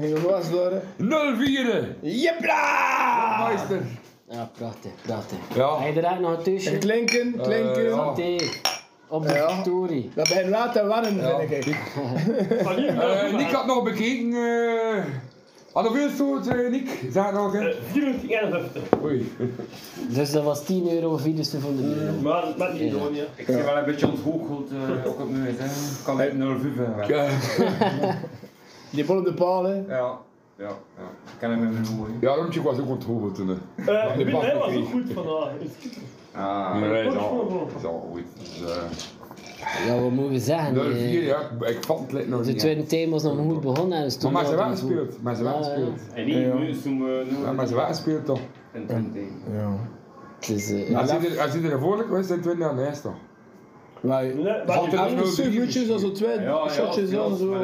Ging gewoon was door. 0-4. Jepla! Meister. Ja, prachtig, prachtig. Hij Ah. Ja. je eruit nog een En teusje? klinken, klinken. ja. Thee. Op de Ja. victorie. Dat ben je later warm, vind ik. Van hier, Eh, Nick had nog bekeken. eh hadden we veel soort, eh, Nick? Daar nog, hè? Eh, 451. Oei. Dus dat was 10 euro, virus voor dus de muur. Maar met die gewoon, ja. Ik zie wel een beetje ontgoocheld, eh, ook op mijn wijze. hè. Ik kan met 0-5 weg. Ja. Ja, Die bol op de paal, hè. Ja, ja. Ik ken hem in mijn ogen. ja Romtje was ook onthoofd toen. hè. Eh, die Wim, hij was pakken. ook goed vandaag. Ah, Maar hij is al, al- is al goed. Dus, eh, Ja, wat moeten we zeggen? 0-4, eh, ja. ik- Ik vat het lijkt nog De niet. hè. tweede team was nog goed begonnen. En Maar toen maar ze wel hadden we goed. gespeeld. Maar ze wel Ja, ja. gespeeld. En die nu doen we Ja, nu Maar ze wel gespeeld toch. een tenten. Het is, eh, Als je er- als je er voorlijk was, zijn twee aan de eerste. Wij. Valt er Even nog een suffertje, zo vier? zo twee shotjes aan, zo.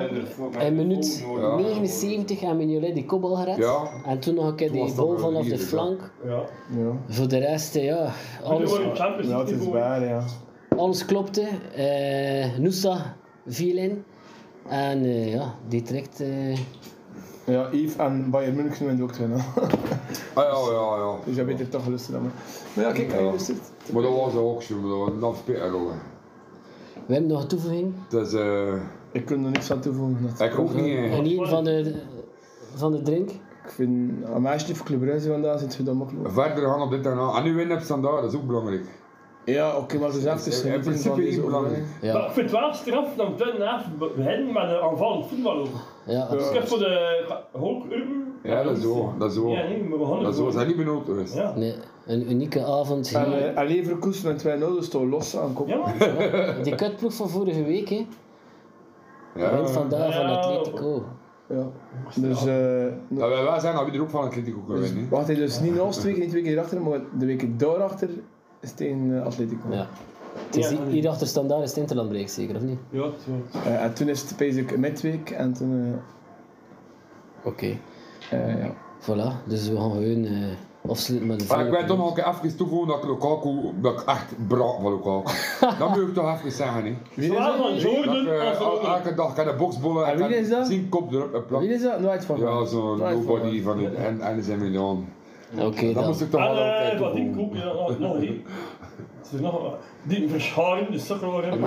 In minuut oh, 79 hebben we Mignolet die kopbal gered. Oh, Ja. En toen nog een keer Toen die was dat bal wel vanaf de hier, ja. flank. Ja. Ja. Voor de rest, eh, ja, Toen alles, waren we Champions Ja, het League is gewonnen. waar, ja. alles klopte. Eh Nusa viel in. En eh, ja, die trekt. eh, Ja, Yves en Bayern München zijn ook twee. hè. Ah ja, ja, ja. Dus jij bent er toch geluisterd aan. Maar ja, kijk, Ja. hij luistert. Maar dat was ook zo, maar dat was een afspeler hoor. we hebben nog een toevoeging. Dus eh, Ik kan er niks aan toevoegen. net. ik ook niet. eh, hè. En hier van de, van de drink. Ik vind, een meisje die voor Club Brugge vandaag zit, vind ik dat makkelijk. Verder gaan op dit en aan. En nu winnen op standaard, dat is ook belangrijk. Ja, oké, maar ze zijn Dus in geschreven van principe is deze het belangrijk. overwinning. Maar Ja, ik vind het wel straf dat we tweede helft beginnen met een aanvallend voetbal ook. ja, Dus ik absoluut. heb voor de hoog Urban. Ja, dat is zo. Dat is zo. Ja, nee, we begonnen. Dat is zo. Ze gewoon. zijn niet benoemd geweest. Ja. Nee, een unieke avond. En, hier. eh, en Leverkusen met 2-0, dus toch los aankomen. Ja, man. Die kutploeg van vorige week, hè? Wint Ja. vandaag van Ja. Atletico. Ja. Dus, eh, Dat wij wel zijn, dat we er ook van Atletico kunnen dus winnen. hè. wacht hij dus niet nog twee keer, niet twee keer achter, maar de week daarachter is tegen eh, Atletico. Ja. Het is hier- hier achter standaard is het Interlandbreek, zeker, of niet? Ja, zo. Eh, en toen is het basic midweek en toen, Oké. eh, eh, ja. Voilà, dus we gaan gewoon eh, afsluiten met de Maar ik volgende wil toch nog even toevoegen dat ik Lukaku, dat ik echt braak van Lukaku. dat moet ik toch even zeggen. Hè. Wie is Zowel dat? van Dat ik Jordan eh, als van el- Omen. elke dag kan de boksbollen En wie is dat? zien kop erop en plak. Wie is dat? Nooit van. Ja, zo'n Nooit van nobody mij. van het en, en is in Milan. Oké, Dat dan. moest ik toch wel En altijd eh, wat ik toevoegen. ook ja, nog nog één. Het is nog die verscharing, de sukkeloren. Ja,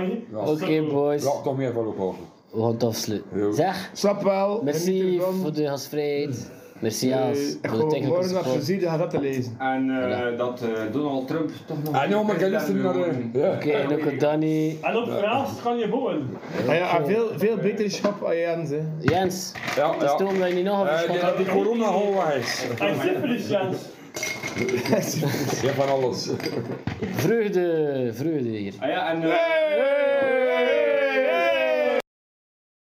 eh, ja. Oké, boys. Braak toch meer van Lukaku. We gaan het afsluiten. Yo. Zeg, Slap wel. merci voor de gastvrijheid. Merci, Jaas, Ik voor de eh, gewoon technische morgen naar support. Brazilië gaat dat te lezen. En eh, dat eh, Donald Trump toch nog... Ah, nou, maar ik luister naar de... Ja. Oké, en ook aan Danny. En op Vraag kan je boven. Ah ja, en veel, veel beterschap aan Jens. Hè. Jens, Ja, ja. stom dat je niet nog een Eh, verschot die- dat die corona al weg is. En syphilis, Jens. Ja, van alles. Vreugde, vreugde hier. Ah ja, en... eh,